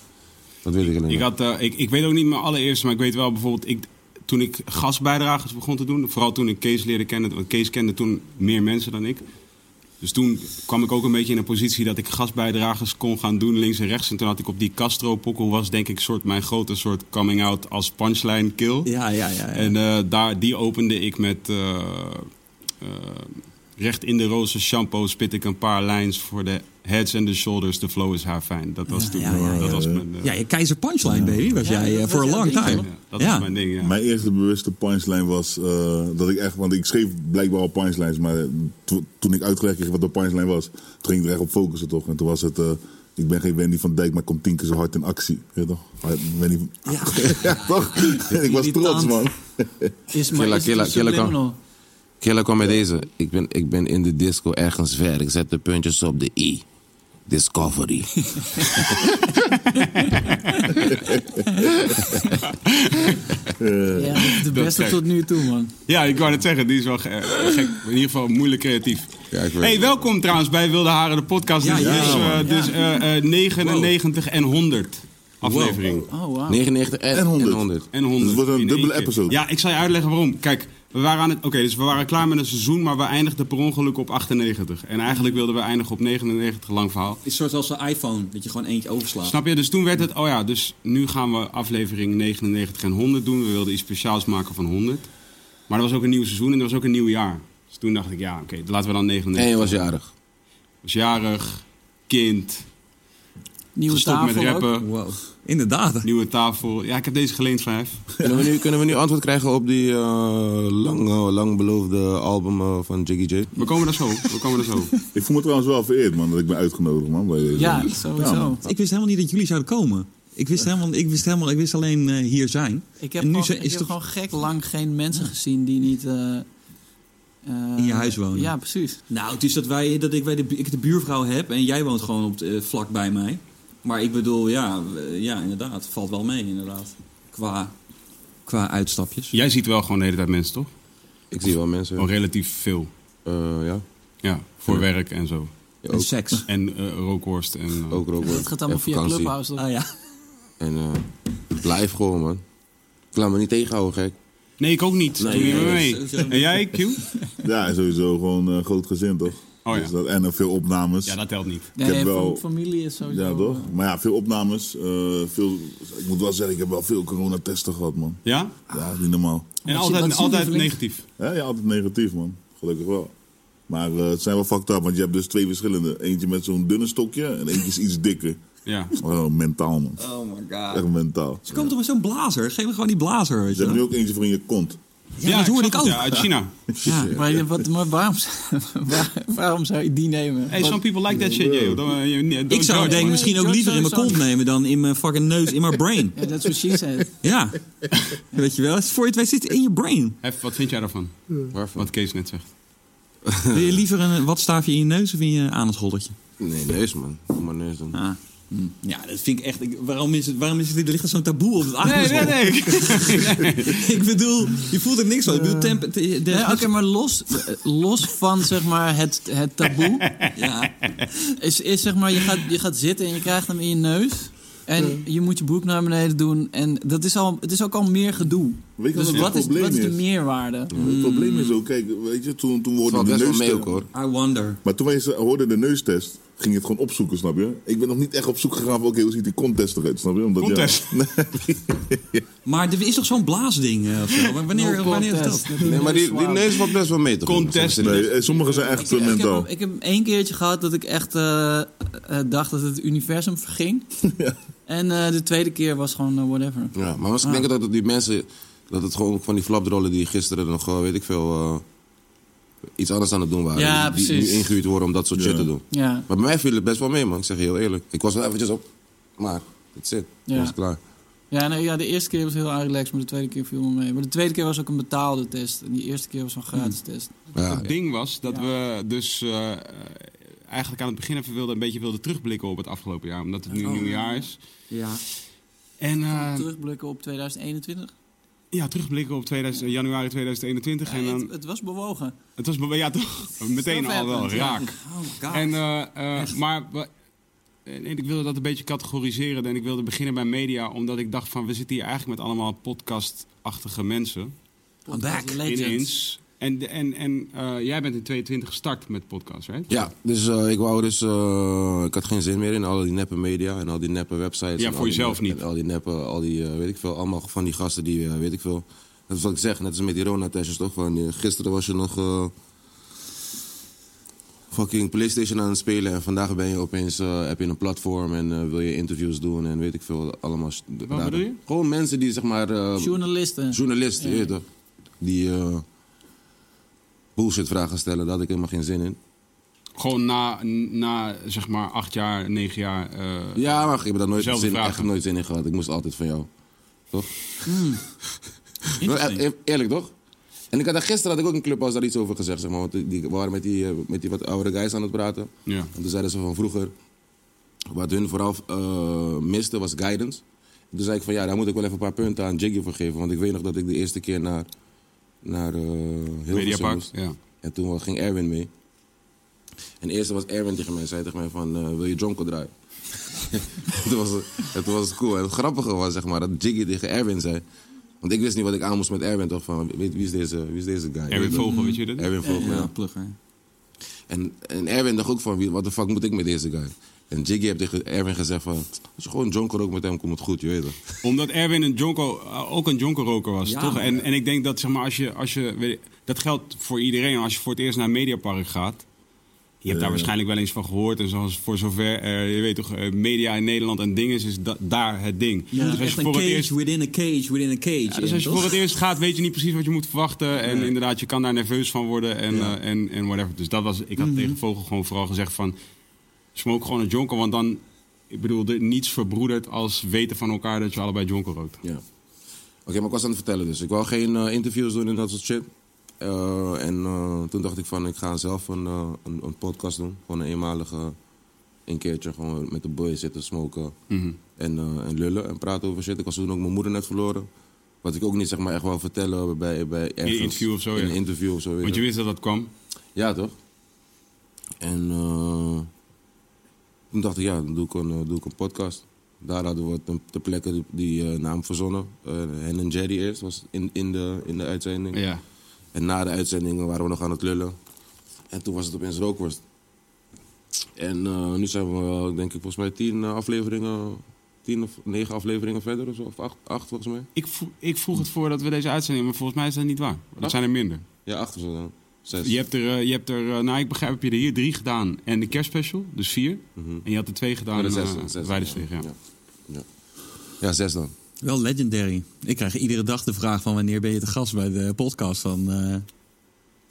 S4: Dat weet ik alleen
S2: Ik,
S4: maar.
S2: had, eh, ik, ik weet ook niet mijn allereerste, maar ik weet wel bijvoorbeeld... Ik, toen ik gastbijdragers begon te doen, vooral toen ik Kees leerde kennen... want Kees kende toen meer mensen dan ik. Dus toen kwam ik ook een beetje in een positie dat ik gastbijdragers kon gaan doen links en rechts. En toen had ik op die Castro-pokkel was denk ik soort mijn grote soort coming-out als punchline kill.
S5: Ja, ja, ja. ja.
S2: En eh, daar, die opende ik met eh, eh, recht in de roze shampoo spit ik een paar lines voor de heads and the shoulders. The flow is haar fijn. Dat was
S5: Ja,
S2: toen.
S5: ja, ja, ja.
S2: dat was mijn. eh,
S5: ja, je keizer punchline, baby, was jij eh,
S6: dat
S5: voor
S6: was
S5: een
S6: jouw
S5: long
S6: ding,
S5: time.
S2: ja, dat
S5: Ja.
S2: was mijn ding. Ja.
S3: Mijn eerste bewuste punchline was eh, dat ik echt, want ik schreef blijkbaar al punchlines, maar to- toen ik uitgelegd kreeg wat de punchline was, toen ging ik er echt op focussen toch. En toen was het, eh, ik ben geen Wendy van Dijk, maar kom tien keer zo hard in actie. Weet je toch? Maar Wendy van... ja. toch? ik was trots
S6: Irritant.
S3: man.
S6: Is maar
S4: Killa,
S6: is het
S4: killa,
S6: een
S4: killa, kom.
S6: subliminal?
S4: Killer kwam met deze. Ik ben, ik ben in de disco ergens ver. Ik zet de puntjes op de i. Discovery.
S6: Ja, dat is de beste
S2: trekt.
S6: tot nu toe, man.
S2: ja, ik wou het zeggen. Die is wel ge- eh, gek. In ieder geval moeilijk creatief.
S4: Ja, ik weet
S2: hey,
S4: het.
S2: welkom trouwens bij Wilde Haren, de podcast.
S5: Ja,
S2: dus
S5: ja,
S2: dus, eh,
S5: man.
S2: dus eh, eh, 99 en 100 aflevering.
S6: Oh, wow.
S4: 99 en, en 100.
S3: honderd.
S2: En 100.
S3: Dus het wordt een
S2: in
S3: dubbele
S2: één keer.
S3: episode.
S2: Ja, ik zal je uitleggen waarom. Kijk, we waren, aan het, oké, dus we waren klaar met een seizoen, maar we eindigden per ongeluk op 98. En eigenlijk wilden we eindigen op 99, lang verhaal.
S5: Het is soort als een iPhone, dat je gewoon eentje overslaat.
S2: Snap je? Dus toen werd het, oh ja, dus nu gaan we aflevering 99 en 100 doen. We wilden iets speciaals maken van 100. Maar er was ook een nieuw seizoen en er was ook een nieuw jaar. Dus toen dacht ik, ja, oké, laten we dan 99.
S4: En je was jarig.
S2: was jarig, kind,
S6: Nieuwe
S2: gestopt
S6: tafel
S2: met rappen,
S6: ook.
S5: Wow. Inderdaad.
S2: nieuwe tafel. Ja, ik heb deze geleend van Hef.
S4: Kunnen we, nu, kunnen we nu antwoord krijgen op die eh, lang, eh, lang beloofde album eh, van Jiggy J?
S2: We komen er zo, we komen er zo.
S3: Ik voel me trouwens wel vereerd man, dat ik ben uitgenodigd man. Bij deze.
S6: Ja,
S3: Ja,
S6: sowieso.
S3: man.
S5: Ik wist helemaal niet dat jullie zouden komen. Ik wist helemaal, ik wist helemaal, ik wist alleen eh, hier zijn.
S6: Ik heb,
S5: en nu
S6: gewoon,
S5: zijn-
S6: ik
S5: is
S6: heb
S5: toch
S6: gewoon gek lang geen mensen gezien die niet... eh, eh,
S5: In je huis wonen.
S6: Ja, precies.
S5: Nou, het is dat, wij, dat ik, wij de, bu- ik de buurvrouw heb en jij woont gewoon op, het, eh, vlak bij mij. Maar ik bedoel, ja, eh, ja, inderdaad, valt wel mee, inderdaad. Qua, qua uitstapjes.
S2: Jij ziet wel gewoon de hele tijd mensen, toch?
S4: Ik zie wel mensen.
S2: Gewoon relatief veel.
S4: Eh, ja.
S2: Ja, voor werk en zo.
S4: Ja,
S5: En
S4: ook,
S5: seks.
S2: En eh, rookhorst en... eh,
S4: ook roken.
S6: Dat gaat allemaal
S4: En
S6: via
S4: vakantie.
S6: Clubhouse. toch?
S5: Ah ja.
S4: En eh, live gewoon, man. Ik laat me niet tegenhouden, gek.
S2: Nee, ik ook niet.
S4: Nee,
S2: Doe je
S4: nee,
S2: maar
S5: nee,
S2: mee.
S5: dat is sowieso-
S2: En jij, Q?
S3: Ja, sowieso gewoon eh, groot gezin toch?
S2: Oh ja.
S3: Dus dat, en eh, veel opnames.
S2: Ja, dat telt niet.
S6: Nee,
S3: Ik heb
S6: fam-
S3: wel-
S6: familie is sowieso...
S3: Ja, toch? Maar ja, veel opnames. eh, veel, ik moet wel zeggen, ik heb wel veel coronatesten gehad, man.
S2: Ja?
S3: Ja, niet normaal.
S2: En
S6: zie-
S2: altijd,
S6: wat zie je
S2: altijd
S6: lieveling?
S2: negatief.
S3: Ja, ja, altijd negatief, man. Gelukkig wel. Maar eh, het zijn wel fucked up, want je hebt dus twee verschillende. Eentje met zo'n dunne stokje en eentje is iets dikker.
S2: Ja.
S3: Oh, mentaal, man.
S5: Oh my god.
S3: Echt mentaal.
S5: Ze komt toch met zo'n blazer? Geef me gewoon die blazer, weet
S3: Ze hebben
S5: je
S3: nu ook eentje voor in je kont.
S5: Ja, dat hoorde
S2: hoor
S5: ik ook.
S2: Ja, uit China.
S6: Ja, maar, je- wat, maar waarom, waar- waarom zou je die nemen?
S2: Hey,
S6: Wat-
S2: some people like that shit, yo. Don't, eh, you- don't
S5: Ik zou
S2: judge,
S5: het denk ik
S2: man.
S5: misschien ook liever in mijn kont nemen dan in mijn fucking neus, in mijn brain.
S6: Ja, dat is wat she said.
S5: Ja. Weet je wel, voor je het weet zit het in je brain.
S2: Hef, wat vind jij daarvan?
S4: Waarvan?
S2: Wat Kees net zegt.
S5: Wil je liever een wat staaf je in je neus of in je anusgoldertje?
S4: Nee, neus, man. Doe maar neus dan.
S5: Ah. hm. Ja, dat vind ik echt. ik- waarom is het? Waarom is het? Er ligt er zo'n taboe op het
S2: Nee,
S5: anusgoldertje.
S2: nee, nee.
S5: ik bedoel, je voelt er niks van. Ik
S6: Eh.
S5: bedoel, temp, te- de- dus-
S6: Nee, Oké, maar los, eh, los van zeg maar, het, het taboe,
S5: ja.
S6: is, is zeg maar, je gaat, je gaat zitten en je krijgt hem in je neus. En je moet je broek naar beneden doen. En dat is al, het is ook al meer gedoe.
S3: Weet je
S6: Dus
S3: wat het
S6: wat is,
S3: probleem
S6: wat is de
S3: is?
S6: meerwaarde?
S3: Het probleem is ook, kijk, weet je, toen, toen we
S4: Het valt
S3: hoorden de
S4: best wel
S3: neustest...
S4: mee ook, hoor.
S5: I wonder.
S3: Maar toen wij ze- hoorden de neustest, ging het gewoon opzoeken, snap je? Ik ben nog niet echt op zoek gegaan van, oké, hoe ziet die contest eruit, snap je? Omdat,
S2: Contest?
S3: Ja, Nee,
S5: Maar er is toch zo'n blaasding eh, of zo? W- Wanneer,
S6: No
S5: wanneer is dat?
S6: contest.
S4: Nee, maar die, die neus valt best wel mee toch?
S2: Contest.
S3: nee, eh, sommigen zijn
S6: Ik,
S3: echt eh,
S6: ik,
S3: mentaal.
S6: heb, ik heb één keertje gehad dat ik echt eh, eh, dacht dat het universum verging. En eh, de tweede keer was gewoon eh, whatever.
S4: Ja, maar was, ik denk dat het die mensen... Dat het gewoon van die flapdrollen die gisteren nog, eh, weet ik veel... eh, iets anders aan het doen waren.
S6: Ja,
S4: die, die
S6: precies.
S4: nu ingehuurd worden om dat soort shit te doen.
S6: Ja.
S4: Maar bij mij viel het best wel mee, man. Ik zeg je heel eerlijk. Ik was wel eventjes op. Maar, het zit.
S6: Ja.
S4: was klaar.
S6: Ja, nee, ja, de eerste keer was heel erg relaxed, maar de tweede keer viel me mee. Maar de tweede keer was ook een betaalde test. En die eerste keer was een gratis test.
S4: Ja,
S2: Het ding was dat we dus eh, eh, eigenlijk aan het begin even wilden, een beetje wilden terugblikken op het afgelopen jaar. Omdat het
S4: Oh.
S2: nu nieuwjaar is.
S6: Ja.
S2: En eh,
S6: Terugblikken op 2021.
S2: ja, terugblikken op 2000, januari 2021. en
S6: Ja, het,
S2: dan,
S6: het was bewogen.
S2: het was ja, toch, meteen al wel
S6: happened, ja.
S2: raak.
S5: Oh my god.
S2: En, eh, eh, maar wa- eh, nee, ik wilde dat een beetje categoriseren. En ik wilde beginnen bij media, omdat ik dacht van... we zitten hier eigenlijk met allemaal podcastachtige mensen.
S5: I'm back.
S6: Legends.
S2: Ineens. En, de- en, en eh, jij bent in 22 gestart met podcast, right?
S4: ja dus eh, ik wou dus... eh, ik had geen zin meer in al die neppe media en al die neppe websites.
S2: Ja,
S4: en
S2: voor
S4: al die
S2: jezelf
S4: neppe-
S2: niet.
S4: En al die neppe, al die, eh, weet ik veel, allemaal van die gasten die, eh, weet ik veel... Dat is wat ik zeg, net als met die Rona-testjes toch? Van, eh, gisteren was je nog... eh, fucking PlayStation aan het spelen en vandaag ben je opeens eh, heb je een platform en eh, wil je interviews doen en weet ik veel allemaal. s- daar-
S2: bedoel je?
S4: Gewoon mensen die zeg maar eh,
S6: Journalisten.
S4: journalist, je weet toch? Die eh, bullshit vragen stellen, daar had ik helemaal geen zin in.
S2: Gewoon na, na zeg maar acht jaar, negen jaar. eh,
S4: Ja, maar ik heb daar nooit
S2: Zelfde
S4: zin,
S2: vragen.
S4: echt nooit zin in gehad. Ik moest altijd van jou. Toch? Nou,
S5: Interesting.
S4: E- e- eerlijk toch? En ik had daar, gisteren had ik ook een clubhuis daar iets over gezegd. Zeg maar, want die, die waren met die, eh, met die wat oudere guys aan het praten.
S2: Ja.
S4: En toen zeiden ze van vroeger, wat hun vooral eh, miste was guidance. En toen zei ik van ja, daar moet ik wel even een paar punten aan Jiggy voor geven. Want ik weet nog dat ik de eerste keer naar, naar eh Hilversum
S2: Mediapark,
S4: moest.
S2: ja.
S4: En toen ging Erwin mee. En eerst was Erwin tegen mij, zei tegen mij van, eh, wil je Jonko draaien? toen, was het, en toen was het cool. En het grappige was, zeg maar, dat Jiggy tegen Erwin zei. Want ik wist niet wat ik aan moest met Erwin, toch? Van, weet, wie, is deze, wie is deze guy?
S2: Erwin Vogel, weet je dat?
S4: Erwin Vogel,
S5: Ja,
S4: ja.
S5: plugger.
S4: En, en Erwin dacht ook van, wie- wat de fuck moet ik met deze guy? En Jiggy heeft tegen Erwin gezegd van, als je gewoon Jonko ook met hem, komt het goed, je weet het.
S2: Omdat Erwin een jonko, eh, ook een jonkerroker was,
S5: Ja,
S2: toch?
S5: maar-
S2: En, en ik denk dat zeg maar, als je, als je weet, dat geldt voor iedereen. Als je voor het eerst naar een Mediapark gaat, je hebt daar
S5: Eh.
S2: waarschijnlijk wel eens van gehoord. En zoals voor zover eh, je weet toch, eh, media in Nederland en ding is, is da- daar het ding.
S5: Ja,
S2: dus als
S5: echt
S2: je
S5: een
S2: voor
S5: cage
S2: het eerst
S5: within a cage within a cage.
S2: ja, dus als je voor het eerst gaat, weet je niet precies wat je moet verwachten. En inderdaad, je kan daar nerveus van worden en, eh, en, en whatever. Dus dat was, ik had
S5: Mhm.
S2: tegen Vogel gewoon vooral gezegd van... Smoke gewoon een jonker, want dan... Ik bedoel, er- niets verbroedert als weten van elkaar dat je allebei jonker rookt.
S4: Ja. Oké, maar ik was aan het vertellen dus. Ik wou geen eh, interviews doen en dat soort shit. Eh, en eh, toen dacht ik van, ik ga zelf een, eh, een, een podcast doen. Gewoon een eenmalige, een keertje gewoon met de boys zitten smoken
S2: Mhm.
S4: en, eh, en lullen en praten over shit. Ik was toen ook mijn moeder net verloren. Wat ik ook niet zeg maar echt wou vertellen bij, bij ergens,
S2: interview of zo,
S4: In
S2: ja.
S4: een interview of zo. weet
S2: Want je
S4: je.
S2: wist dat dat kwam.
S4: Ja, toch? En eh, toen dacht ik, ja, dan doe ik een, eh, doe ik een podcast. Daar hadden we te- ter plekke die, die eh, naam verzonnen. Eh, Hen en Jerry eerst was in, in, de, in de uitzending.
S2: Ja.
S4: En na de uitzendingen waren we nog aan het lullen. En toen was het opeens rookworst. En eh, nu zijn we, eh, denk ik, volgens mij tien eh, afleveringen... Tien of negen afleveringen verder of zo. Of acht, acht volgens mij.
S2: Ik, vro- ik vroeg het voor dat we deze uitzending... maar volgens mij is dat niet waar. Dat zijn er minder.
S4: Ja, acht of zo dan. Zes.
S2: Je hebt er, eh, je hebt er eh, nou ik begrijp, heb je er hier drie gedaan. En de kerstspecial, dus vier. En je had er twee gedaan
S4: Bij de
S2: eh,
S4: zes, zes.
S2: bij de steeg, ja.
S4: Ja. Ja. ja, zes dan.
S5: Wel legendary. Ik krijg iedere dag de vraag van wanneer ben je te gast bij de podcast van, eh,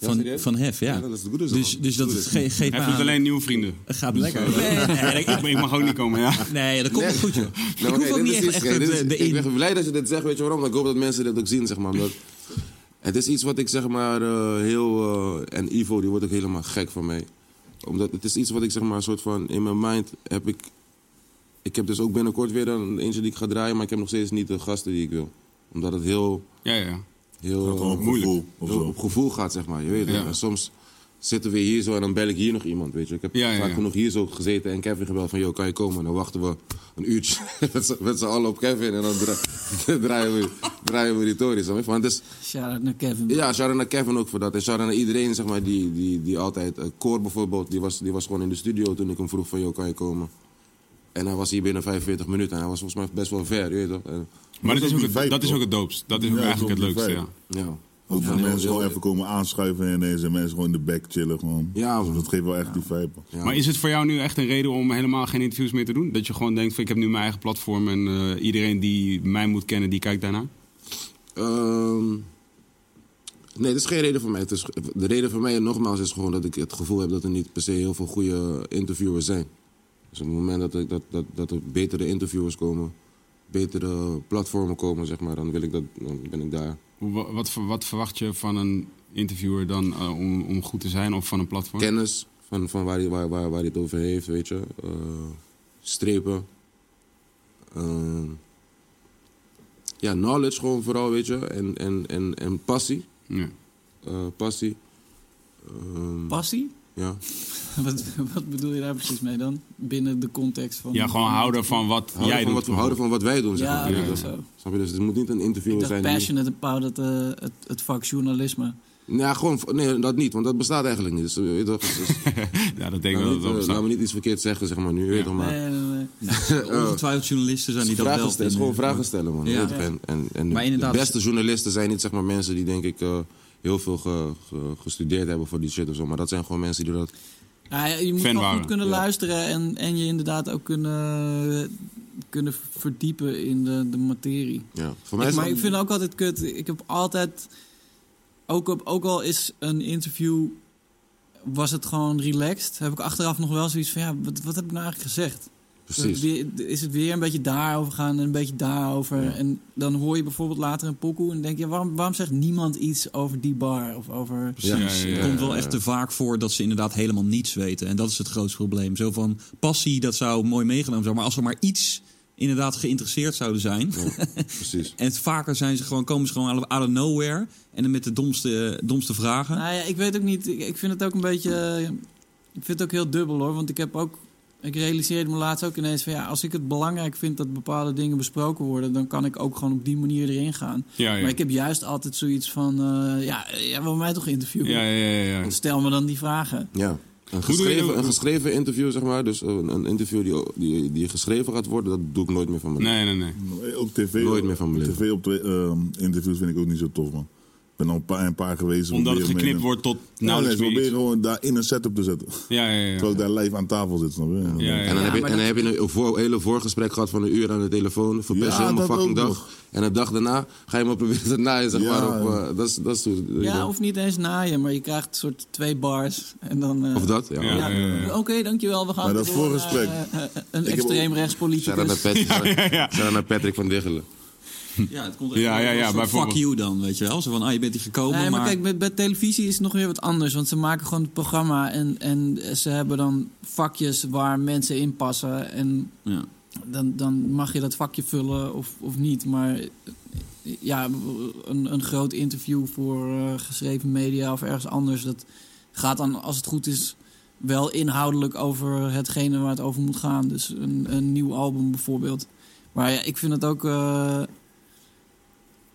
S5: van,
S4: serieus?
S5: van Hef. Ja.
S4: Ja, dat is de goede zaak.
S5: dus, dus dat
S4: Goed
S5: is,
S4: is.
S5: ge geeft me
S2: Hij vindt
S5: aan-
S2: alleen nieuwe vrienden.
S5: Gaat lekker. Nee, nee,
S2: Ik,
S5: dat-
S2: ik mag ook niet komen, ja.
S5: nee, dat komt wel goed, joh.
S4: Nee,
S5: ik
S4: maar
S5: hoef
S4: kijk,
S5: ook
S4: dit
S5: niet
S4: is
S5: echt,
S4: iets-
S5: echt eh,
S4: kijk, dit is-
S5: de, de
S4: Ik
S5: in...
S4: ben blij dat je dit zegt, weet je waarom? Want Ik hoop dat mensen dit ook zien, zeg maar. Omdat het is iets wat ik zeg maar eh, heel... eh, en Ivo, die wordt ook helemaal gek van mij. Omdat het is iets wat ik zeg maar soort van... In mijn mind heb ik... Ik heb dus ook binnenkort weer een eentje die ik ga draaien... maar ik heb nog steeds niet de gasten die ik wil. Omdat het heel...
S2: Ja, ja.
S4: heel
S3: Gewoon op
S4: eh,
S3: gevoel of
S4: heel
S3: zo.
S4: op gevoel gaat, zeg maar. Je weet het.
S2: Ja.
S4: En soms zitten we hier zo en dan bel ik hier nog iemand, weet je. Ik heb
S2: Ja, ja,
S4: vaak
S2: ja.
S4: genoeg hier zo gezeten en Kevin gebeld van, joh, kan je komen? En dan wachten we een uurtje met z'n- met z'n allen op Kevin en dan dra- draaien, we, draaien we die tories. aan, weet je. Want het is,
S6: Shout-out naar Kevin.
S4: ja, shout-out naar Kevin ook voor dat. En shout-out naar iedereen, zeg maar, die, die, die altijd... eh, Cor bijvoorbeeld, die was, die was gewoon in de studio toen ik hem vroeg van... joh, kan je komen? En hij was hier binnen 45 minuten. En hij was volgens mij best wel ver, je weet toch? En,
S2: Maar dat is,
S3: dat is
S2: ook
S3: die
S2: het,
S3: vibe,
S2: dat is
S3: toch?
S2: ook het doopst. Dat is
S3: Ja,
S2: ook eigenlijk het
S3: dat is
S2: leukste,
S3: die
S2: ja.
S3: vibe.
S4: ja.
S3: Ook van
S4: Ja,
S3: mensen
S4: heel-
S3: gewoon even komen aanschuiven en ineens en mensen gewoon in de back chillen gewoon.
S4: Ja,
S3: Dus
S4: man.
S3: dat geeft wel echt die vibe.
S4: Ja.
S2: Maar is het voor jou nu echt een reden om helemaal geen interviews meer te doen? Dat je gewoon denkt van ik heb nu mijn eigen platform en eh, iedereen die mij moet kennen, die kijkt daarnaar?
S4: Ehm, nee, dat is geen reden voor mij. Het is, de reden voor mij, nogmaals, is gewoon dat ik het gevoel heb dat er niet per se heel veel goede interviewers zijn. Dus op het moment dat, ik, dat, dat, dat er betere interviewers komen, betere platformen komen, zeg maar, dan, wil ik dat, dan ben ik daar.
S2: Hoe- wa- Wat, ver- wat verwacht je van een interviewer dan eh, om, om goed te zijn of van een platform?
S4: Kennis van, van waar, hij, waar, waar, waar hij het over heeft, weet je. Eh, strepen. Ehm, ja, knowledge gewoon vooral, weet je. En, en, en, en passie.
S2: Ja.
S4: Eh, passie. Ehm,
S6: Passie?
S4: ja.
S6: Wat, wat bedoel je daar precies mee dan? Binnen de context van...
S2: ja, gewoon houden van wat
S4: Houden,
S2: jij
S4: van,
S2: doet.
S4: wat, houden van wat wij doen, zeg
S6: Ja,
S4: maar.
S6: dat
S2: is
S6: zo.
S4: Snap je? Dus het moet niet een interviewer
S6: Ik dacht
S4: zijn. die-
S6: passionate about het, eh, het, het vak journalisme.
S4: Nou, ja, gewoon, nee, dat niet, want dat bestaat eigenlijk niet. Dus, eh, weet je toch, dus, dus-
S2: ja, dat denk ik
S4: laat, me
S2: wel. dat dat
S4: niet, eh, laat me
S2: bestaat.
S4: niet iets verkeerd zeggen, zeg maar nu. Weet je toch, maar,
S6: Nee, nee, nee.
S5: Ongetwijfeld journalisten zijn die dat
S4: vragen
S5: wel
S4: stellen, oh. het is
S5: vinden.
S4: gewoon vragen stellen, man.
S5: Ja.
S4: Weet je, En, en, en
S5: Maar inderdaad-
S6: dus-
S4: de beste journalisten zijn niet zeg maar, mensen die, denk ik, eh, heel veel ge- ge- gestudeerd hebben voor die shit of zo. Maar dat zijn gewoon mensen die dat...
S6: Ja, je moet
S2: Fan
S6: wel
S2: waren.
S6: goed kunnen luisteren en, en je inderdaad ook kunnen, kunnen verdiepen in de, de materie.
S4: Ja. Voor mij
S6: Ik,
S4: is
S6: maar
S4: dat-
S6: ik vind ook altijd kut. Ik heb altijd. Ook, op, ook al is een interview. was het gewoon relaxed. Heb ik achteraf nog wel zoiets van. ja, wat, wat heb ik nou eigenlijk gezegd?
S4: Precies.
S6: Weer- Is het weer een beetje daarover gaan en een beetje daarover. En dan hoor je bijvoorbeeld later een pokoe. en denk je. waarom, waarom zegt niemand iets over die bar? Of over.
S5: Precies.
S2: Ja, ja, ja,
S5: het komt wel echt te vaak voor dat ze inderdaad helemaal niets weten. En dat is het grootste probleem. Zo van passie, dat zou mooi meegenomen zijn. Maar als ze maar iets inderdaad geïnteresseerd zouden zijn.
S4: Precies.
S5: En het vaker zijn ze gewoon, komen ze gewoon out of- out of nowhere. En dan met de domste, domste vragen.
S6: Nou ja, ik weet ook niet. Ik, ik vind het ook een beetje. eh, Ik vind het ook heel dubbel hoor. Want ik heb ook. Ik realiseerde me laatst ook ineens van ja, als ik het belangrijk vind dat bepaalde dingen besproken worden, dan kan ik ook gewoon op die manier erin gaan.
S2: Ja, ja.
S6: Maar ik heb juist altijd zoiets van, eh, ja, eh, jij wil mij toch interviewen?
S2: Ja, ja, ja, ja.
S6: Stel me dan die vragen.
S4: Ja.
S2: doe je
S4: Een
S2: dat?
S4: geschreven, een geschreven interview, zeg maar. Dus een, een interview die, die, die geschreven gaat worden, dat doe ik nooit meer van mijn
S2: Nee, nee, nee.
S3: Maar Ook tv,
S4: Nooit meer van mijn leven.
S3: TV op de, ehm, interviews vind ik ook niet zo tof man. Ik ben al een paar, een paar geweest.
S2: Omdat het
S3: probeer
S2: geknipt
S3: mee-
S2: wordt nou, tot
S3: Ja, nee,
S2: nauwelijks
S3: ze
S2: meer
S3: proberen
S2: iets.
S3: gewoon daar in een setup te zetten.
S2: Ja, ja, ja.
S3: Terwijl ik daar live aan tafel zit, snap je? Ja,
S2: ja, ja.
S4: En dan,
S6: Ja,
S4: heb, je,
S6: maar
S4: en dan heb je een voor- hele voorgesprek gehad van een uur aan de telefoon. Verpest
S3: Ja,
S4: je
S3: dat
S4: helemaal fucking
S3: ook
S4: dag.
S3: nog.
S4: En de dag daarna ga je maar proberen te naaien, zeg
S3: Ja.
S4: maar. Op, eh, dat is, dat is, hoe-
S6: Ja, of niet eens naaien, maar je krijgt een soort twee bars en dan... eh,
S4: of dat, ja.
S2: Ja.
S6: ja, Oké, dankjewel, we gaan
S3: Maar dat
S6: voor, eh,
S3: voorgesprek.
S6: eh, eh, een
S3: heb
S6: extreem
S3: ook-
S4: Shout out naar
S6: rechtspoliticus.
S4: Patrick, shout out naar Patrick van Diggelen.
S5: Ja, het komt
S2: echt Ja, wel ja, een ja, soort bijvoorbeeld.
S5: fuck
S2: fuck
S5: you dan, weet je wel. Zo van, ah, je bent hier gekomen,
S6: Nee, maar,
S5: maar...
S6: kijk, bij, bij televisie is het nog weer wat anders. Want ze maken gewoon het programma en, en ze hebben dan vakjes waar mensen in passen. En
S5: Ja.
S6: dan, dan mag je dat vakje vullen of, of niet. Maar eh, ja, een, een groot interview voor eh, geschreven media of ergens anders... dat gaat dan, als het goed is, wel inhoudelijk over hetgene waar het over moet gaan. Dus een, een nieuw album bijvoorbeeld. Maar ja, ik vind het ook... eh,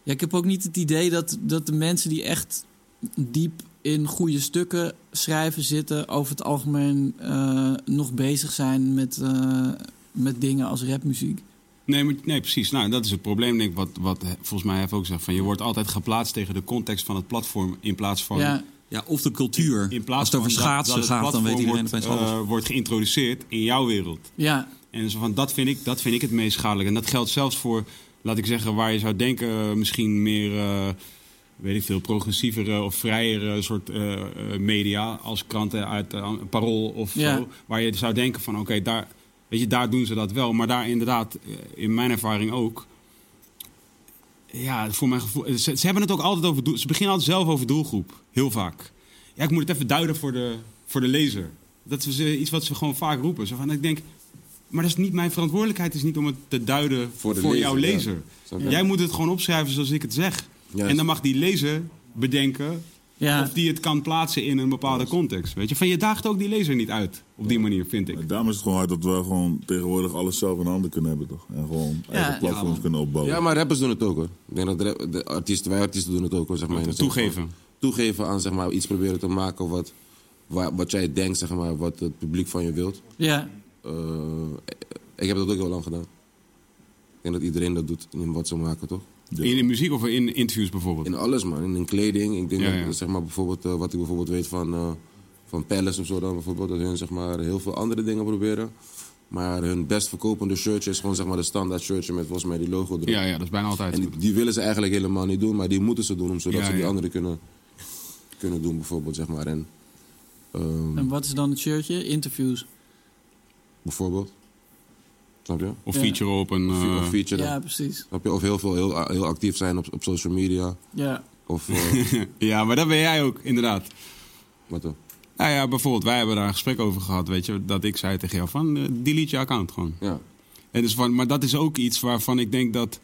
S6: ja, ik heb ook niet het idee dat, dat de mensen die echt diep in goede stukken schrijven zitten, over het algemeen eh, nog bezig zijn met, eh, met dingen als rapmuziek.
S2: Nee, maar, nee, precies. Nou, dat is het probleem, denk ik, wat, wat eh, volgens mij heeft ook zegt. Van, je wordt altijd geplaatst tegen de context van het platform in plaats van...
S6: Ja,
S5: ja, of de cultuur.
S2: In plaats
S5: Als het over
S2: van
S5: schaatsen
S2: dat- dat het
S5: gaat, dan weet
S2: platform
S5: iedereen opeens
S2: wordt,
S5: alles.
S2: eh, wordt geïntroduceerd in jouw wereld.
S6: ja,
S2: En zo van, dat, vind ik, dat vind ik het meest schadelijk. En dat geldt zelfs voor, laat ik zeggen, waar je zou denken... eh, misschien meer, eh, weet ik veel, progressievere of vrijere soort eh, eh, media... als kranten uit eh, Parool of
S6: Ja.
S2: zo. Waar je zou denken van, oké, daar, weet je, daar doen ze dat wel. Maar daar inderdaad, eh, in mijn ervaring ook... Ja, voor mijn gevoel. eh, Ze, ze hebben het ook altijd over. doel- Ze beginnen altijd zelf over doelgroep. Heel vaak. Ja, ik moet het even duiden voor de, voor de lezer. Dat is eh, iets wat ze gewoon vaak roepen. Zo van, ik denk, maar dat is niet mijn verantwoordelijkheid. is niet om het te duiden voor,
S4: Voor de
S2: jouw
S4: lezer, ja.
S2: lezer.
S4: Snap je?
S2: Jij moet het gewoon opschrijven zoals ik het zeg.
S4: Juist.
S2: En dan mag die lezer bedenken
S6: Ja.
S2: Of die het kan plaatsen in een bepaalde context. Weet je? Van je daagt ook die lezer niet uit. Op die manier, vind ik.
S3: En daarom is het gewoon hard dat we gewoon tegenwoordig alles zelf in handen kunnen hebben, toch? En gewoon eigen
S6: ja,
S3: platforms
S5: man.
S3: kunnen opbouwen.
S4: Ja, maar rappers doen het ook hoor. Ik denk dat rap- de artiesten, wij artiesten doen het ook hoor. Zeg maar, in de zin
S2: Toegeven.
S4: van Toegeven aan zeg maar, iets proberen te maken wat, wa- wat jij denkt, zeg maar, wat het publiek van je wilt.
S6: Ja,
S4: Eh, ik heb dat ook heel lang gedaan. Ik denk dat iedereen dat doet in wat ze maken, toch?
S2: In, in muziek of in interviews bijvoorbeeld.
S4: In alles, man. In, in kleding. Ik denk
S2: Ja,
S4: dat,
S2: ja.
S4: zeg maar, bijvoorbeeld, eh, wat ik bijvoorbeeld weet van, eh van Palace of zo dan bijvoorbeeld. Dat hun, zeg maar, heel veel andere dingen proberen. Maar hun best verkopende shirtje is gewoon, zeg maar, de standaard shirtje met volgens mij die logo erop.
S2: Ja, ja, dat is bijna altijd.
S4: En die, die willen ze eigenlijk helemaal niet doen, maar die moeten ze doen, om- zodat
S2: Ja,
S4: ze die
S2: ja.
S4: anderen kunnen, kunnen doen, bijvoorbeeld. Zeg maar. En, ehm,
S6: en wat is dan het shirtje? Interviews.
S4: bijvoorbeeld. Snap je?
S2: Of
S6: Ja.
S2: feature op een...
S4: Of,
S2: eh,
S4: of feature.
S6: Ja, precies.
S4: Snap je? Of heel, veel, heel, heel actief zijn op, op social media.
S6: Ja.
S4: Of eh,
S2: ja, maar dat ben jij ook, inderdaad.
S4: wat dan?
S2: Nou ja, bijvoorbeeld, wij hebben daar een gesprek over gehad, weet je. Dat ik zei tegen jou van, eh, delete je account gewoon.
S4: Ja.
S2: En dus van, maar dat is ook iets waarvan ik denk dat...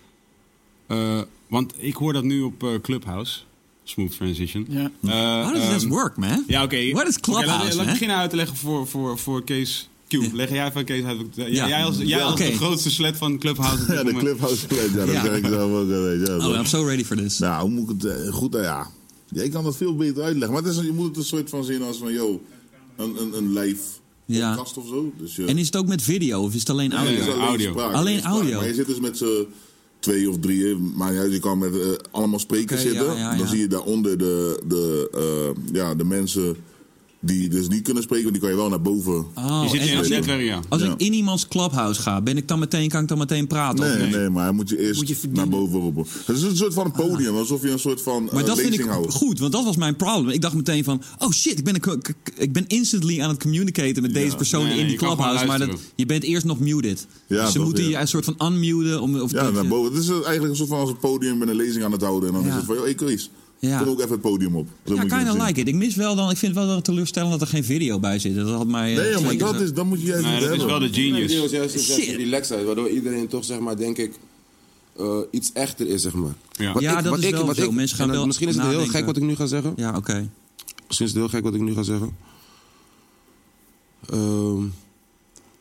S2: eh, want ik hoor dat nu op eh, Clubhouse. Smooth transition.
S6: Ja.
S2: Eh,
S5: How does this
S2: ehm,
S5: work, man?
S2: Ja, oké.
S5: What is
S2: Oké, laat- laat,
S5: Clubhouse,
S2: ik
S5: man?
S2: beginnen uit te leggen voor, voor, voor Kees Q. Leg jij van Kees uit. Ja,
S5: Ja.
S2: Jij als, jij
S5: Ja,
S2: als
S5: oké.
S2: de grootste slet van Clubhouse. op dit
S3: Ja, de
S2: moment.
S3: Clubhouse Pledge, ja, dat
S5: Ja.
S3: zeg ik zelf ook. ja, Weet je, wel.
S5: Oh, I'm so ready for this.
S3: Nou, hoe moet ik het eh, goed... nou ja. Jij kan dat veel beter uitleggen. Maar het is, een- je moet het een soort van zien als van... Yo, een, een, een live
S5: Ja.
S3: podcast of zo. Dus je,
S5: En is het ook met video of is het alleen audio?
S2: nee,
S3: het is
S2: audio.
S3: spraak,
S5: Alleen
S3: spraak.
S5: audio.
S3: Maar je zit dus met z'n twee of drie. eh, Maar ja, je kan met eh, allemaal sprekers
S5: Oké, ja,
S3: zitten.
S5: ja,
S3: Dan
S5: ja.
S3: zie je daaronder de, de, eh, ja, de mensen die dus niet kunnen spreken. Want die kan je wel naar boven...
S5: Oh,
S2: je zit
S5: en
S2: in
S5: als
S2: het
S5: ik-
S2: netwerk, ja.
S5: Als
S3: Ja.
S5: ik in iemands clubhouse ga, ben ik dan meteen, kan ik dan meteen praten? of
S3: Nee, nee,
S5: niet?
S3: maar hij moet je eerst
S5: Moet je verdienen. Ah.
S3: naar boven roepen. Het is een soort van een podium, alsof je een soort van
S5: Maar
S3: eh,
S5: dat vind ik
S3: lezing houdt.
S5: goed, want dat was mijn probleem. Ik dacht meteen van, oh shit, ik ben, een co- k- k- ik ben instantly aan het communicaten met deze persoon
S2: Nee, nee,
S5: in die
S2: je kan
S5: clubhouse. Maar
S2: gewoon
S5: dat,
S2: luisteren.
S5: je bent eerst nog muted.
S3: Ja,
S5: dus ze
S3: toch,
S5: moeten
S3: ja.
S5: je een soort van unmuten. Om, of
S3: Ja,
S5: dat
S3: naar
S5: je-
S3: boven. Het is eigenlijk een soort van als een podium met een lezing aan het houden. En dan
S5: Ja.
S3: is het van, joh, hey Chris,
S5: Ja.
S3: kom ook even het podium op. Zo
S5: ja,
S3: moet je het
S5: kinda
S3: zien.
S5: like it. Ik mis wel dan, ik vind het wel wel teleurstellend dat er geen video bij zit. Dat had mij...
S3: Nee,
S5: eh,
S3: joh, maar
S5: twee keer
S3: dat,
S5: zo-
S3: is, dat moet je juist
S2: Nee,
S3: niet
S2: dat is
S3: hebben.
S2: wel de
S4: Die
S2: genius.
S4: was juist juist
S5: Shit.
S4: relaxed uit, waardoor iedereen toch, zeg maar, denk ik, eh, iets echter is, zeg maar.
S2: Ja.
S4: Wat
S5: Ja, dat is wel zo. Mensen gaan
S4: en dat-
S5: wel
S4: Misschien is het heel
S5: nadenken.
S4: gek wat ik nu ga zeggen.
S5: Ja, oké.
S4: Misschien is het heel gek wat ik nu ga zeggen. Ehm,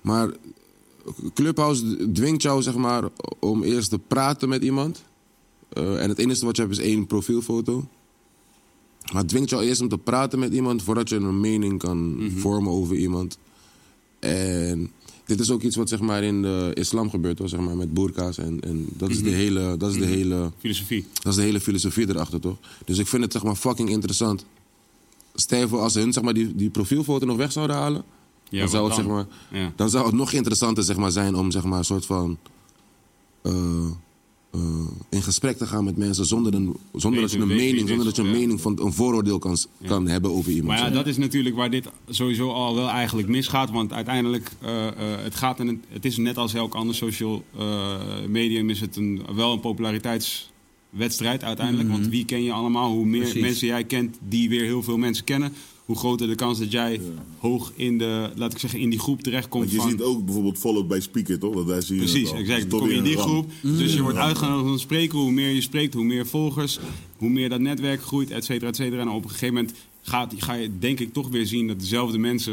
S4: maar Clubhouse dwingt jou, zeg maar, om eerst te praten met iemand. Eh, en het enige wat je hebt is één profielfoto. Maar het dwingt jou eerst om te praten met iemand voordat je een mening kan vormen over iemand. En dit is ook iets wat zeg maar in de islam gebeurt, hoor, zeg maar, met burka's. En, en dat is de hele. Dat is de hele
S2: Filosofie.
S4: dat is de hele filosofie erachter, toch? Dus ik vind het zeg maar fucking interessant. Stel je voor, als ze hun zeg maar, die, die profielfoto nog weg zouden halen,
S2: Ja,
S4: dan, zou
S2: wat
S4: het, zeg
S2: dan?
S4: maar,
S2: Ja.
S4: dan zou het nog interessanter zeg maar, zijn om zeg maar, een soort van. eh, eh, in gesprek te gaan met mensen zonder, een, zonder dat je
S2: Weten-
S4: een
S2: weten
S4: mening,
S2: wie dit
S4: zonder dat je een
S2: is, ja.
S4: mening van een vooroordeel kan, s- kan hebben over iemand.
S2: Maar ja,
S4: zeg
S2: dat is natuurlijk waar dit sowieso al wel eigenlijk misgaat. Want uiteindelijk, eh, eh, het, gaat en het is net als elk ander social eh, medium, is het een, wel een populariteitswedstrijd uiteindelijk.
S3: Mhm.
S2: Want wie ken je allemaal? Hoe meer
S5: Precies.
S2: mensen jij kent die weer heel veel mensen kennen, hoe groter de kans dat jij hoog in de, laat ik zeggen, in die groep terechtkomt.
S3: Want je
S2: van,
S3: ziet ook bijvoorbeeld Followed bij Speaker, toch? Dat daar zie je
S2: Precies,
S3: het Mm. al. Dat
S2: exact.
S3: is
S2: Dan
S3: toch
S2: kom je in
S3: weer
S2: die
S3: een
S2: groep.
S3: ramp.
S2: Dus je wordt uitgenodigd om te spreken. Hoe meer je spreekt, hoe meer volgers. Hoe meer dat netwerk groeit, et cetera, et cetera. En op een gegeven moment gaat, ga je denk ik toch weer zien dat dezelfde mensen...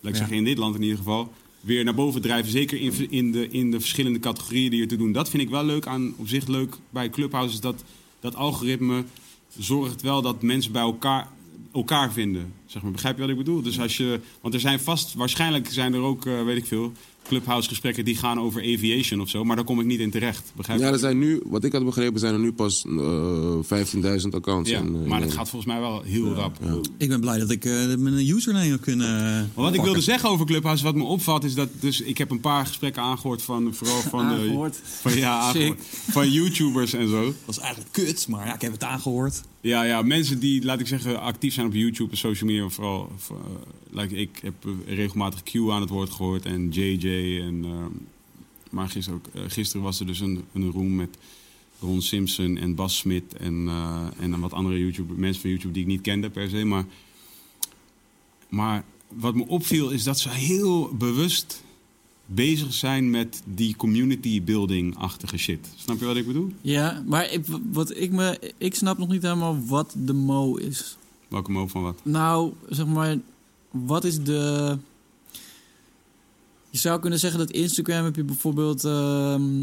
S2: Laat ik zeggen, in dit land in ieder geval... weer naar boven drijven. Zeker in, in, de, in de verschillende categorieën die er te doen. Dat vind ik wel leuk aan, op zich leuk bij Clubhouse... is dat dat algoritme zorgt wel dat mensen bij elkaar elkaar vinden. Zeg maar, begrijp je wat ik bedoel? Dus als je, want er zijn vast, waarschijnlijk zijn er ook, eh, weet ik veel, clubhouse gesprekken die gaan over aviation of zo, maar daar kom ik niet in terecht. Begrijp je?
S4: Ja, er zijn nu, wat ik had begrepen, zijn er nu pas eh, 15.000 accounts.
S2: Ja,
S4: in,
S2: maar dat
S4: eh, in Nederland.
S2: gaat volgens mij wel heel rap.
S5: Ik ben blij dat ik eh, mijn username heb kunnen... eh,
S2: Maar wat ik
S5: pakken.
S2: wilde zeggen over Clubhouse, wat me opvalt, is dat dus ik heb een paar gesprekken aangehoord van vooral van, eh,
S6: Aangehoord.
S2: van ja, aangehoord. van YouTubers en zo.
S5: Dat is eigenlijk kut, maar ja, ik heb het aangehoord.
S2: Ja, ja, mensen die, laat ik zeggen, actief zijn op YouTube en social media. Vooral, voor, eh, like, ik heb eh, regelmatig Q aan het woord gehoord en JJ. En, ehm, maar gisteren, ook, eh, gisteren was er dus een, een room met Ron Simpson en Bas Smit. En, eh, en dan wat andere YouTube, mensen van YouTube die ik niet kende per se. Maar, maar wat me opviel is dat ze heel bewust bezig zijn met die community building-achtige shit. Snap je wat ik bedoel?
S6: Ja, maar ik, wat ik, me, ik snap nog niet helemaal wat de mo is.
S2: Welke mo van wat?
S6: Nou, zeg maar, wat is de. Je zou kunnen zeggen dat Instagram heb je bijvoorbeeld ehm,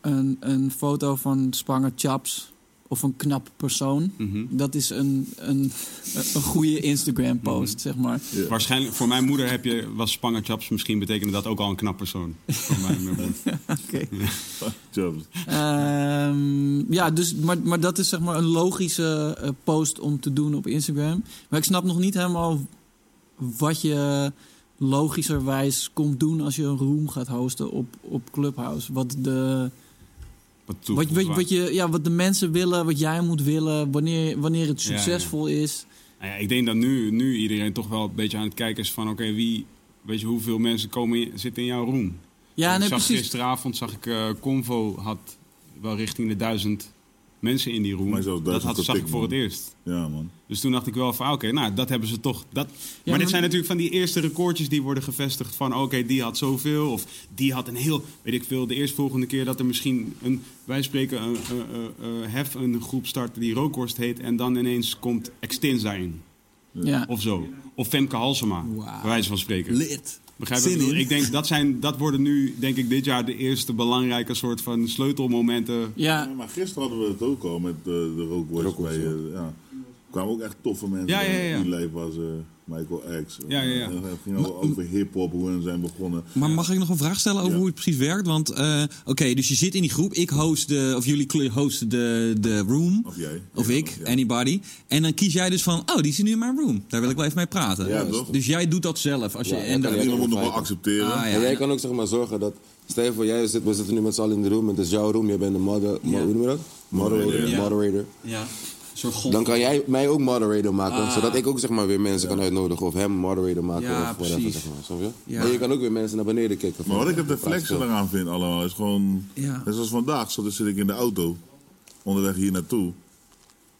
S6: een, een foto van Spanger Chaps of een knap persoon.
S2: Mhm.
S6: Dat is een, een, een goede Instagram-post, zeg maar.
S2: Waarschijnlijk, voor mijn moeder heb je, was Spanger Chaps misschien betekende dat ook al een knap persoon. Voor mijn moeder.
S6: Oké.
S3: Chaps.
S6: Ehm, ja, dus, maar, maar dat is zeg maar een logische eh, post om te doen op Instagram. Maar ik snap nog niet helemaal wat je logischerwijs komt doen als je een room gaat hosten op, op Clubhouse. Wat de,
S2: Wat, toe-
S6: wat, wat, wat, je, ja, wat de mensen willen, wat jij moet willen, wanneer, wanneer het
S2: Ja, ja.
S6: succesvol is.
S2: Nou ja, ik denk dat nu, nu iedereen toch wel een beetje aan het kijken is van... oké, wie, weet je, hoeveel mensen komen, in- zitten in jouw room?
S6: Ja,
S2: ik
S6: nee,
S2: zag
S6: precies.
S2: gisteravond zag ik eh, Convo had wel richting de duizend mensen in die room.
S3: Maar zelfs
S2: dat
S3: 1000
S2: had, zag ik
S3: getikt,
S2: voor
S3: man.
S2: het eerst.
S3: Ja, man.
S2: Dus toen dacht ik wel van, ah, oké, nou, dat hebben ze toch. Dat... maar
S6: maar-
S2: dit zijn natuurlijk van die eerste recordjes die worden gevestigd van... oké, die had zoveel, of die had een heel, weet ik veel... de eerstvolgende keer dat er misschien een, wij spreken... een eh, eh, eh, hef een groep start die Rookhorst heet... en dan ineens komt Extins daarin,
S6: Ja.
S2: of zo. Of Femke Halsema, bij wijze van spreken.
S9: Lid.
S2: Begrijp
S9: Zin
S2: je? wat ik bedoel?
S9: in.
S2: Ik denk dat zijn, dat worden nu, denk ik, dit jaar de eerste belangrijke soort van sleutelmomenten.
S6: Ja,
S3: Nee, maar gisteren hadden we het ook al met eh, de Rookboys.
S4: Rockboys,
S3: bij
S4: ja.
S3: eh, ja. Er kwamen ook echt toffe mensen.
S2: Ja, ja, ja, ja.
S3: Die lijf was eh, Michael X.
S2: Ja, ja, ja.
S3: En het ging al over hip-hop, hoe we zijn begonnen.
S5: Maar mag ik nog een vraag stellen over
S3: Ja.
S5: hoe het precies werkt? Want, eh, oké, dus je zit in die groep. Ik host de, of jullie cl- hosten de, de room.
S3: Of jij.
S5: Of
S3: Ja,
S5: ik,
S3: ja.
S5: anybody. En dan kies jij dus van, oh, die zit nu in mijn room. Daar wil ik wel even mee praten.
S3: Ja,
S5: dus,
S3: toch?
S5: dus jij doet dat zelf. Als je,
S4: Ja,
S5: en
S4: dat
S5: dat-
S4: kan ik.
S3: Iedereen moet nog wel
S4: Ah,
S3: accepteren.
S5: Ah,
S4: en
S5: ja.
S4: jij kan ook zeg maar zorgen dat... Stel je voor, jij zit, we zitten nu met z'n allen in de room en het is jouw room. Jij bent de moder, mo- hoe noem je dat? Moderator.
S5: Ja.
S4: moderator.
S5: Ja, een soort god.
S4: Dan kan jij mij ook moderator maken, zodat ik ook zeg maar weer mensen kan uitnodigen. Of hem moderator maken
S5: Ah. Ja,
S4: of whatever,
S5: precies.
S4: zeg maar. Snap je?
S5: Ja.
S4: En je kan ook weer mensen naar beneden kicken.
S3: Maar wat ik het
S4: de
S3: reflex eraan vind allemaal, is gewoon...
S5: Ja.
S3: Net zoals vandaag zat, zit ik in de auto, onderweg hier naartoe.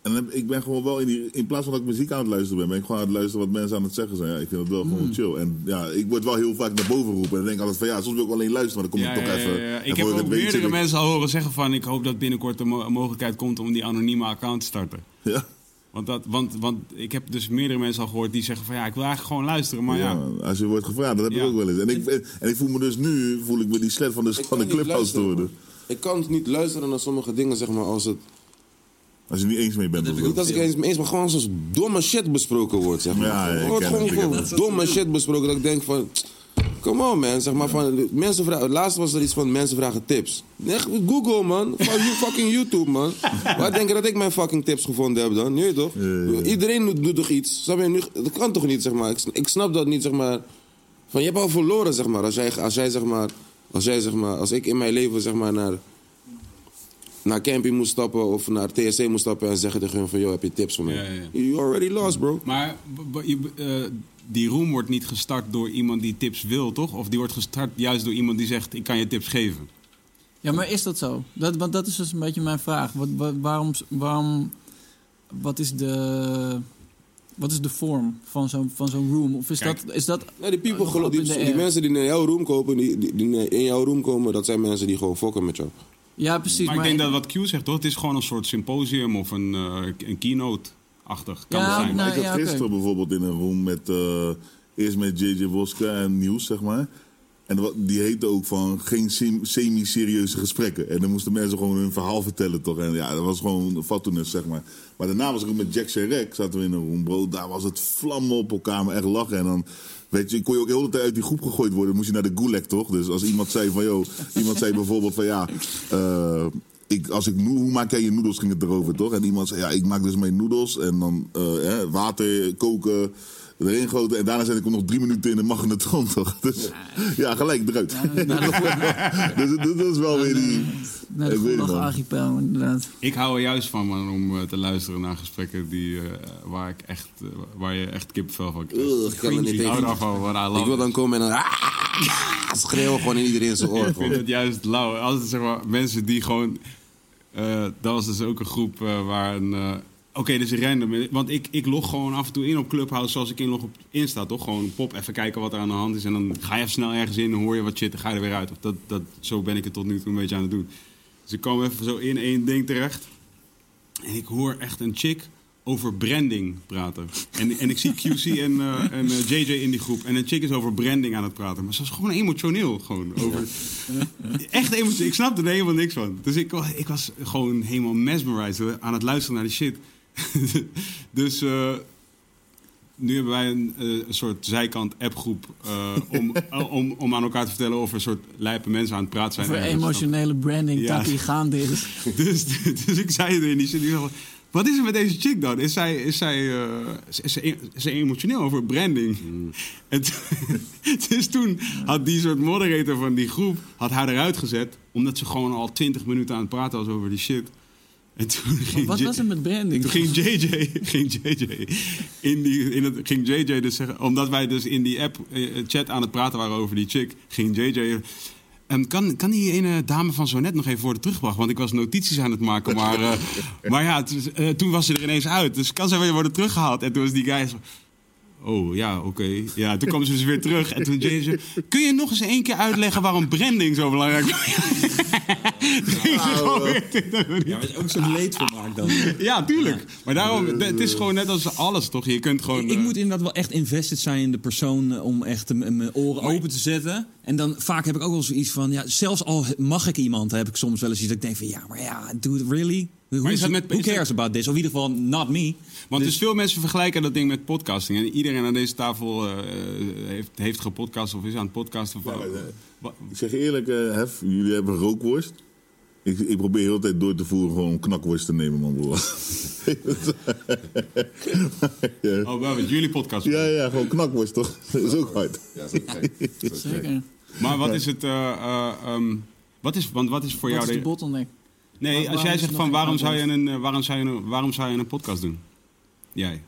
S3: En heb- ik ben gewoon wel in die... In plaats van dat ik muziek aan het luisteren ben, ben ik gewoon aan het luisteren wat mensen aan het zeggen zijn. Ja, ik vind het wel gewoon chill. En ja, ik word wel heel vaak naar boven geroepen. En dan denk ik altijd van ja, soms wil ik alleen luisteren, maar dan kom ik toch even... en
S2: Ik heb
S3: voor je
S2: ook
S3: het weet zit
S2: meerdere
S3: ik-
S2: mensen al horen zeggen van... ik hoop dat binnenkort de mo- mogelijkheid komt om die anonieme account te starten.
S3: Ja,
S2: Want, dat, want, want ik heb dus meerdere mensen al gehoord die zeggen van... ja, ik wil eigenlijk gewoon luisteren, maar Oh, ja...
S3: ja. als je wordt gevraagd, dat heb
S2: Ja.
S3: ik ook wel eens. En ik, en ik voel me dus nu, voel ik me die slet van de, van de clubhouse te worden.
S4: Ik kan niet luisteren naar sommige dingen, zeg maar, als het...
S3: Als je niet eens mee bent. of zo.
S4: Niet als ik eens, eens maar gewoon zoals domme shit besproken wordt, zeg maar.
S3: Ja, ja, ik
S4: Er
S3: ken
S4: wordt
S3: het,
S4: gewoon,
S3: ik ken
S4: gewoon
S3: het.
S4: domme shit besproken dat ik denk van... Come on, man. Zeg maar van, mensen vragen, laatst was er iets van mensen vragen tips. Echt, Google, man. Van you fucking YouTube, man. Waar denk je dat ik mijn fucking tips gevonden heb dan? Je weet toch?
S3: ja, ja.
S4: Iedereen doet, doet toch iets? Snap je? Nu, dat kan toch niet, zeg maar. Ik, sn- ik snap dat niet, zeg maar. Van, je hebt al verloren, zeg maar. Als jij, als jij, zeg maar... Als jij, zeg maar... Als ik in mijn leven, zeg maar, naar naar Campy moest stappen of naar TSC moest stappen en zeggen tegen hun van, yo, heb je tips voor mij?
S2: Ja, ja, ja.
S4: You already lost, bro.
S2: Maar b- b- je b- eh, die room wordt niet gestart door iemand die tips wil, toch? Of die wordt gestart juist door iemand die zegt... ik kan je tips geven.
S6: Ja, maar is dat zo? Dat, want dat is dus een beetje mijn vraag. Wat, wa- waarom, waarom, wat is de, wat is de vorm van zo'n van zo'n room? Of is
S2: Kijk.
S6: dat, is dat,
S4: Nee, die people
S6: Nog
S4: gelo-
S6: op
S4: Oh, die,
S6: in de
S4: die
S6: air.
S4: mensen die naar jouw room kopen, die, die, die in jouw room komen, dat zijn mensen die gewoon fokken met jou.
S6: ja precies.
S2: Maar ik denk dat wat Q zegt, toch? Het is gewoon een soort symposium of een, eh, een keynote-achtig. Kan
S6: Ja,
S2: het zijn.
S6: nou,
S3: ik zat
S6: ja, oké.
S3: gisteren bijvoorbeeld in een room met... eh, eerst met JJ Woska en Nieuws, zeg maar. En wat- die heette ook van geen sem- semi-serieuze gesprekken. En dan moesten mensen gewoon hun verhaal vertellen, toch? En ja, dat was gewoon fatsoenlijk, zeg maar. Maar daarna was ik ook met Jack Sherek, zaten we in een room, bro. Daar was het vlammen op elkaar, maar echt lachen. En dan, weet je, kon je ook heel de hele tijd uit die groep gegooid worden. Dan moest je naar de gulag, toch? Dus als iemand zei van, joh... iemand zei bijvoorbeeld van, ja... eh, ik, als ik noe- hoe maak jij je noedels, ging het erover, toch? En iemand zei, ja, ik maak dus mijn noedels. En dan eh, hè, water, koken, erin goten. En daarna zet ik hem nog drie minuten in de magnetron, toch? Dus ja, gelijk eruit. dus dat, dat is wel weer die...
S6: naar nou, de
S3: ik weet het
S6: Gulag
S3: wel.
S6: Archipel, inderdaad.
S2: Ik hou er juist van man, om eh, te luisteren naar gesprekken die, eh, waar, ik echt, eh, waar je echt kipvel van krijgt.
S4: Ugh, ik kan er niet
S2: ik
S4: tegen.
S2: hou daarvan, waar I love
S4: Ik wil
S2: it.
S4: dan komen en dan schreeuwen gewoon in iedereen zijn oor.
S2: Ik vind
S4: gewoon.
S2: het juist lauw. Als het, zeg maar, mensen die gewoon... eh dat was dus ook een groep eh, waar een... eh, Oké, dus dus random. Want ik, ik log gewoon af en toe in op Clubhouse zoals ik inlog op Insta, toch? Gewoon pop, even kijken wat er aan de hand is. En dan ga je even snel ergens in, dan hoor je wat shit, dan ga je er weer uit. Of dat, dat, zo ben ik het tot nu toe een beetje aan het doen. Dus ik kwam even zo in één ding terecht. En ik hoor echt een chick over branding praten. En, en ik zie QC en, eh, en eh, JJ in die groep. En een chick is over branding aan het praten. Maar ze was gewoon emotioneel. Gewoon over, Echt emotioneel. Ik snapte er helemaal niks van. Dus ik, wa- ik was gewoon helemaal mesmerized aan het luisteren naar die shit. dus eh, nu hebben wij een, eh, een soort zijkant appgroep eh, om, om, om aan elkaar te vertellen of er soort lijpe mensen aan het praten zijn.
S6: Voor
S2: ergens.
S6: emotionele branding
S2: Ja.
S6: dat die gaande is.
S2: Dus, dus ik zei er in die zin, ik dacht, wat is er met deze chick dan? Is zij, is zij, eh, is, is ze, is ze emotioneel over branding? En toen- dus toen had die soort moderator van die groep had haar eruit gezet... omdat ze gewoon al twintig minuten aan het praten was over die shit. En toen ging
S6: Wat
S2: J-
S6: was het met branding?
S2: toen ging JJ, ging JJ, in die, in het, ging JJ dus zeggen, omdat wij dus in die app eh, eh, chat aan het praten waren over die chick, ging JJ. ehm, kan, kan die ene dame van zo net nog even worden teruggebracht? Want ik was notities aan het maken. Maar, eh, maar ja, het is- eh, toen was ze er ineens uit. Dus kan zij weer worden teruggehaald? En toen was die guy zo... Oh, ja, oké. Ja, toen kwam ze dus weer terug. En toen JJ zei... Kun je nog eens één keer uitleggen waarom branding zo belangrijk is? Ging ze gewoon weer 20 minuten
S5: Ja, maar het is ook zo'n leedvermaak dan.
S2: ja, tuurlijk. Maar daarom, het is gewoon net als alles, toch? Je kunt gewoon... eh,
S5: Ik, ik moet inderdaad wel echt invested zijn in de persoon eh, om echt m- mijn oren open te zetten. En dan vaak heb ik ook wel zoiets van, ja, zelfs al mag ik iemand, heb ik soms wel eens iets dat ik denk van, ja, maar ja, dude, really? Who,
S2: Maar is
S5: is-
S2: dat met-
S5: who
S2: is dat-
S5: cares about this? Of in ieder geval, not me.
S2: Want dus veel mensen vergelijken dat ding met podcasting. En iedereen aan deze tafel eh, heeft, heeft gepodcast of is aan het podcasten. Of,
S3: Ja,
S2: Wa-
S3: Ik zeg je eerlijk, eh, Hef, jullie hebben rookworst. Ik, ik probeer heel de tijd door te voeren gewoon om knakworst te nemen, man. broer. ja.
S2: oh, wel, met jullie podcast.
S3: ja, ja, gewoon knakworst, toch? Dat is ook hard.
S4: Ja, zo gek. Zo gek.
S6: Zeker.
S2: Maar wat is het... eh, eh, ehm, wat is, want wat is voor
S6: Wat
S2: jou...
S6: is de
S2: de-
S6: bottleneck? Waar-
S2: nee, als
S6: waarom
S2: jij
S6: is
S2: zegt
S6: het
S2: van
S6: nog
S2: waarom
S6: geen
S2: zou, je
S6: podcast?
S2: een, eh, waarom, zou je een, waarom zou je een podcast doen? Jij.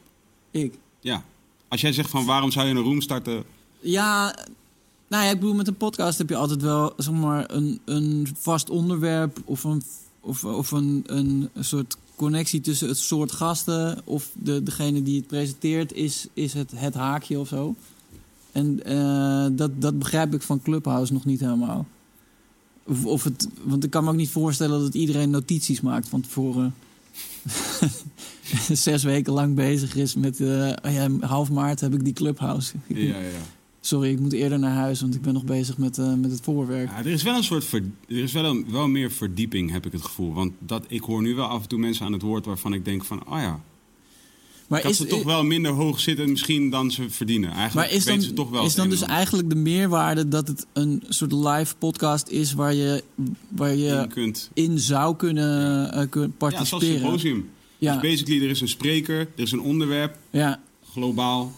S6: Ik.
S2: Ja. Als jij zegt van waarom zou je een room starten...
S6: Ja, nou ja, ik bedoel, met een podcast heb je altijd wel zeg maar, een, een vast onderwerp of, een, of, of een, een soort connectie tussen het soort gasten of de, degene die het presenteert is, is het, het haakje of zo. En eh, dat, dat begrijp ik van Clubhouse nog niet helemaal. Of, of het, want ik kan me ook niet voorstellen dat iedereen notities maakt van tevoren. Zes weken lang bezig is met. eh, oh ja, half maart heb ik die clubhouse. Ik
S2: Ja, ja, ja.
S6: Sorry, ik moet eerder naar huis, want ik ben nog bezig met, eh, met het voorwerk.
S2: Ja, er is wel een soort. ver- er is wel, een, wel meer verdieping, heb ik het gevoel. Want dat, ik hoor nu wel af en toe mensen aan het woord waarvan ik denk: van, ah ja.
S6: Maar
S2: Ik had
S6: is, eh,
S2: ze toch wel minder hoog zitten misschien dan ze verdienen. Eigenlijk
S6: maar is
S2: weten
S6: dan,
S2: ze toch wel.
S6: is
S2: het
S6: dan
S2: een
S6: dus
S2: en ander.
S6: eigenlijk de meerwaarde dat het een soort live podcast is waar je, waar je
S2: Je kunt.
S6: in zou kunnen, eh, kunnen
S2: Ja, zoals
S6: eh, participeren?
S2: symposium.
S6: ja,
S2: Dus basically, er is een spreker, er is een onderwerp,
S6: ja,
S2: globaal.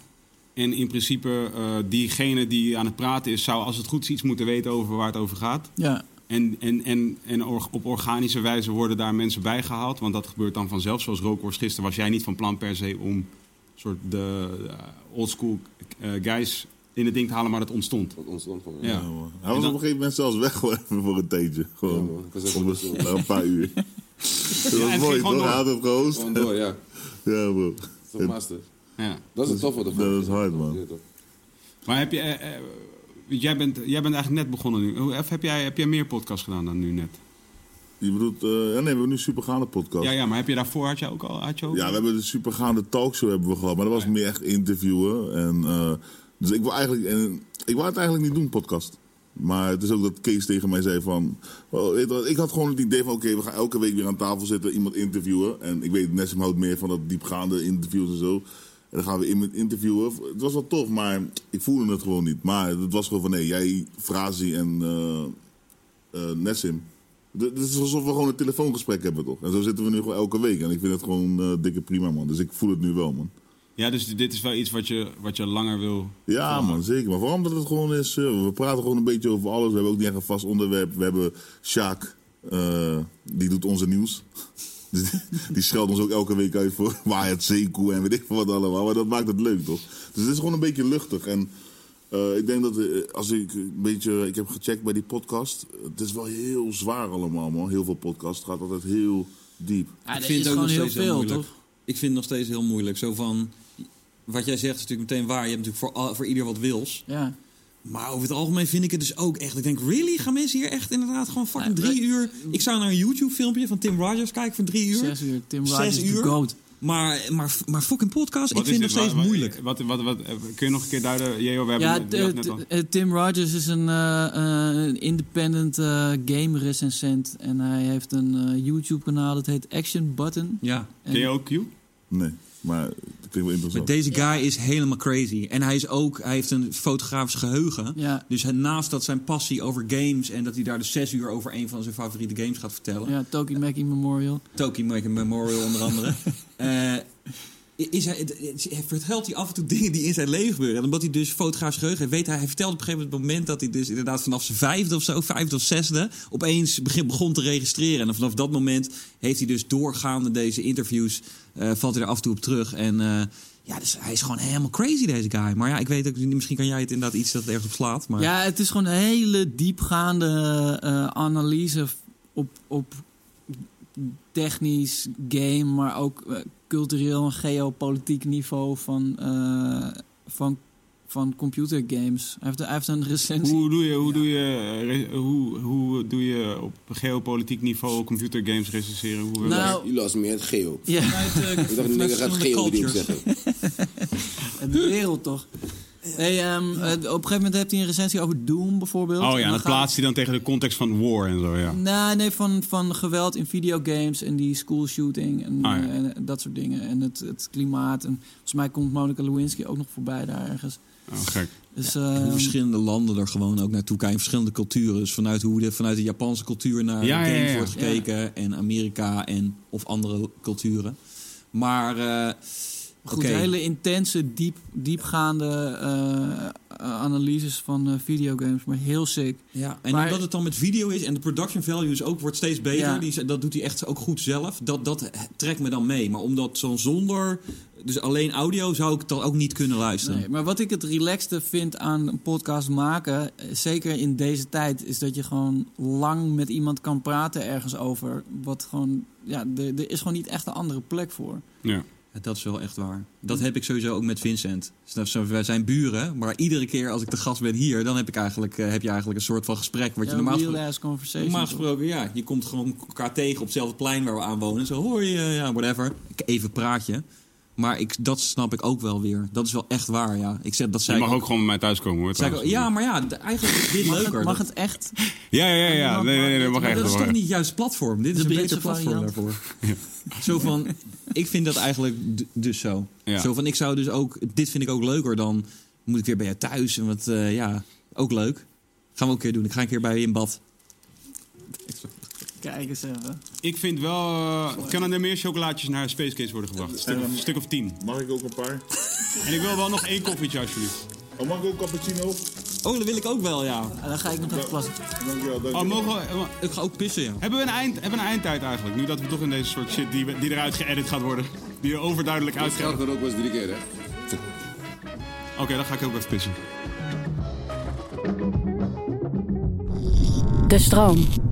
S2: En in principe, eh, diegene die aan het praten is, zou als het goed is iets moeten weten over waar het over gaat.
S6: ja.
S2: En, en, en, en or- op organische wijze worden daar mensen bijgehaald. Want dat gebeurt dan vanzelf. Zoals Rookworst gisteren was jij niet van plan per se om soort de eh, oldschool eh, guys in het ding te halen, maar dat ontstond.
S4: Wat ontstond van.
S2: Ja.
S3: Ja, man. Hij
S2: dan-
S3: was op een gegeven moment zelfs weg gewoon even voor een tijdje.
S4: Ja,
S3: Gewoon
S4: man. Ik was even
S3: om
S4: op de
S3: een, een paar uur. Dat
S2: het
S3: was
S2: ging
S3: mooi,
S2: gewoon
S3: toch?
S2: door.
S3: Hij had het gehost.
S4: Gewoon door, ja.
S3: Ja, bro.
S4: Dat is een master.
S2: Ja.
S4: Dat is het toffe ervan.
S3: Dat is hard, man.
S4: Ja, toch.
S2: Maar heb je, eh, eh, jij, bent, jij bent eigenlijk net begonnen nu. Hoe- Of heb jij, heb jij meer podcasts gedaan dan nu net?
S3: Je bedoelt, eh, ja, nee, we hebben nu een supergaande podcast.
S2: Ja, ja, maar heb je daarvoor had je ook al? Had je ook
S3: Ja, we hebben de supergaande talkshow hebben we gehad, maar dat was meer echt interviewen. En, eh, dus ik wil eigenlijk, en, ik wou het eigenlijk niet doen, podcast. Maar het is ook dat Kees tegen mij zei van... oh, weet je wat, ik had gewoon het idee van, oké, we gaan elke week weer aan tafel zitten, iemand interviewen. En ik weet, Nessim houdt meer van dat diepgaande interviews en zo. En dan gaan we iemand interviewen. Het was wel tof, maar ik voelde het gewoon niet. Maar het was gewoon van, nee, jij, Frazi en eh, eh, Nessim. D- Het is alsof we gewoon een telefoongesprek hebben, toch? En zo zitten we nu gewoon elke week. En ik vind het gewoon eh, dikke prima, man. Dus ik voel het nu wel, man.
S2: ja, dus dit is wel iets wat je, wat je langer wil.
S3: Ja, man, zeker. Maar vooral omdat het gewoon is... eh, we praten gewoon een beetje over alles. We hebben ook niet echt een vast onderwerp. We hebben Sjaak, eh, die doet onze nieuws. Dus die, die scheldt ons ook elke week uit voor waar het zeekoe en weet ik veel wat allemaal. Maar dat maakt het leuk, toch? Dus het is gewoon een beetje luchtig. En eh, ik denk dat eh, als ik een beetje... Ik heb gecheckt bij die podcast. Het is wel heel zwaar allemaal, man. Heel veel podcast. Het gaat altijd heel diep.
S6: Ja, dat
S5: vind het
S6: is
S5: ook
S6: gewoon
S5: nog
S6: heel
S5: steeds heel
S6: veel,
S5: moeilijk.
S6: toch?
S5: Ik vind het nog steeds heel moeilijk. Zo van, wat jij zegt is natuurlijk meteen waar. Je hebt natuurlijk voor, al- voor ieder wat wils.
S6: Ja.
S5: Maar over het algemeen vind ik het dus ook echt. Ik denk, really? Gaan mensen hier echt inderdaad gewoon fucking
S6: Ja,
S5: drie
S6: wij-
S5: uur... Ik zou naar een YouTube-filmpje van Tim Rogers kijken van drie uur.
S6: Zes uur, Tim
S5: Zes
S6: Rogers,
S5: uur?
S6: de goat.
S5: Maar, maar, maar fucking podcast,
S2: Wat
S5: ik vind het nog
S2: is dit?
S5: steeds
S2: Wa- wa-
S5: moeilijk.
S2: Wat, wat, wat, eh, kun je nog een keer duiden? Jeo, we hebben
S6: Ja,
S2: het die had
S6: t-
S2: net al.
S6: t- eh, Tim Rogers is een eh, eh, een independent eh, game recensent. En hij heeft een eh, YouTube-kanaal dat heet Action Button.
S5: Ja.
S6: En-
S2: Ken je ook Q?
S3: Nee, maar het klinkt wel
S5: Maar
S3: interessant.
S5: deze guy is helemaal crazy. En hij, is ook, hij heeft een fotografisch geheugen.
S6: Ja.
S5: Dus hij- naast dat zijn passie over games... en dat hij daar dus zes uur over een van zijn favoriete games gaat vertellen...
S6: Ja, Tokimeki Memorial.
S5: Tokimeki Memorial onder andere. Eh, is hij, het- het- hij vertelt hij af en toe dingen die in zijn leven gebeuren. En omdat hij dus fotografisch geheugen heeft, weet hij... hij vertelt op een gegeven moment dat hij dus inderdaad vanaf zijn vijfde of zo... vijfde of zesde, opeens begin, begon te registreren. En vanaf dat moment heeft hij dus doorgaande deze interviews... eh, valt hij er af en toe op terug. En eh, ja, dus hij is gewoon helemaal crazy, deze guy. Maar ja, ik weet ook niet, misschien kan jij het inderdaad iets dat ergens op slaat. Maar...
S6: Ja, het is gewoon een hele diepgaande eh, analyse f- op, op technisch game, maar ook eh, cultureel en geopolitiek niveau van, eh, van, van computergames. Hij heeft, hij heeft een recensie.
S2: Hoe doe je, hoe doe je, eh, re- hoe, hoe doe je op geopolitiek niveau computergames recenseren? Hoe
S6: Nou,
S4: Jullie als meer het geo.
S6: Ja,
S5: Vanuit, eh,
S4: Ik dacht, die
S5: vanuit
S4: nigger gaat
S5: verschillende
S4: geo die hem
S5: cultures.
S4: zeggen.
S6: de wereld toch. Hey, ehm, eh, op een gegeven moment heeft hij een recensie over Doom bijvoorbeeld.
S2: oh ja, en
S6: dan Mm.
S2: dat
S6: gaat-
S2: plaatst hij dan tegen de context van war en zo, ja.
S6: Nee, nee van, van geweld in videogames en die schoolshooting en,
S2: Ah, ja.
S6: eh, en dat soort dingen. En het, het klimaat. En volgens mij komt Monica Lewinsky ook nog voorbij daar ergens.
S2: Oh, gek.
S6: Dus,
S5: Hoe
S2: Ehm.
S6: eh,
S5: verschillende landen er gewoon ook naartoe kijken. Verschillende culturen. Dus vanuit, hoe de, vanuit de Japanse cultuur naar
S2: Ja, ja,
S5: games
S2: ja.
S5: wordt gekeken. En Amerika en of andere culturen. Maar eh
S6: goed,
S5: oké.
S6: hele intense, diep, diepgaande eh, eh, analyses van eh, videogames. Maar heel sick.
S5: ja, en
S6: maar-
S5: omdat het dan met video is en de production value dus ook wordt steeds beter.
S6: Ja.
S5: Die, dat doet hij echt ook goed zelf. Dat, dat trekt me dan mee. Maar omdat zo'n zonder, dus alleen audio, zou ik dat ook niet kunnen luisteren.
S6: Nee, maar wat ik het relaxte vind aan een podcast maken, eh, zeker in deze tijd, is dat je gewoon lang met iemand kan praten ergens over. Wat gewoon, ja, er er is gewoon niet echt een andere plek voor.
S2: Ja.
S5: Ja, Dat is wel echt waar. Dat heb ik sowieso ook met Vincent. Dus Snap je? Wij zijn buren, maar iedere keer als ik de gast ben hier, dan heb, ik eigenlijk, eh, heb je eigenlijk een soort van gesprek. Wat je
S6: Ja,
S5: normaal
S6: real
S5: gesproken,
S6: ass conversation.
S5: normaal gesproken, ja, je komt gewoon elkaar tegen op hetzelfde plein waar we aan wonen. Zo hoi, eh, ja, whatever. Ik- Even praat je. Maar ik, dat snap ik ook wel weer. Dat is wel echt waar, ja. Ik zeg, dat
S2: Je
S5: zei ik
S2: mag
S5: ook-
S2: ook gewoon bij mij thuiskomen, hoor.
S5: zei ik ook-
S2: trouwens.
S5: ja, maar ja, d- eigenlijk is dit
S6: Mag,
S5: leuker.
S6: het, mag
S5: dat,
S6: het echt?
S2: ja, ja, ja, ja. Nee, nee, nee, dat mag
S5: maar
S2: echt
S5: dat is
S2: hoor.
S5: toch niet juist platform? Dit is
S6: De
S5: een
S6: Britse
S5: beter platform
S6: variant.
S5: daarvoor. Zo van, ik vind dat eigenlijk d- dus zo.
S2: Ja.
S5: Zo van, ik zou dus ook, dit vind ik ook leuker dan, moet ik weer bij jou thuis? En wat, eh, ja, ook leuk. Gaan we ook een keer doen. Ik ga een keer bij je in bad.
S6: Kijk eens even.
S2: Ik vind wel... eh, kan er meer chocolaatjes naar Space Case worden gebracht? Een stuk, of- stuk of tien.
S3: Mag ik ook een paar?
S2: En ik wil wel nog één koffietje, alsjeblieft.
S3: Oh, mag ik ook cappuccino?
S5: Oh, dat wil ik ook wel, ja.
S6: En dan ga ik nog even plassen.
S3: Dankjewel, dankjewel.
S2: Oh, mogen we...
S5: Ik ga ook pissen, ja.
S2: Hebben we, een eind, hebben we een eindtijd eigenlijk? Nu dat we toch in deze soort shit die, we- die eruit geëdit gaat worden. Die er overduidelijk uit gaat.
S4: Scherper ook was drie keer, hè?
S2: Oké, dan ga ik ook even pissen.
S1: De stroom.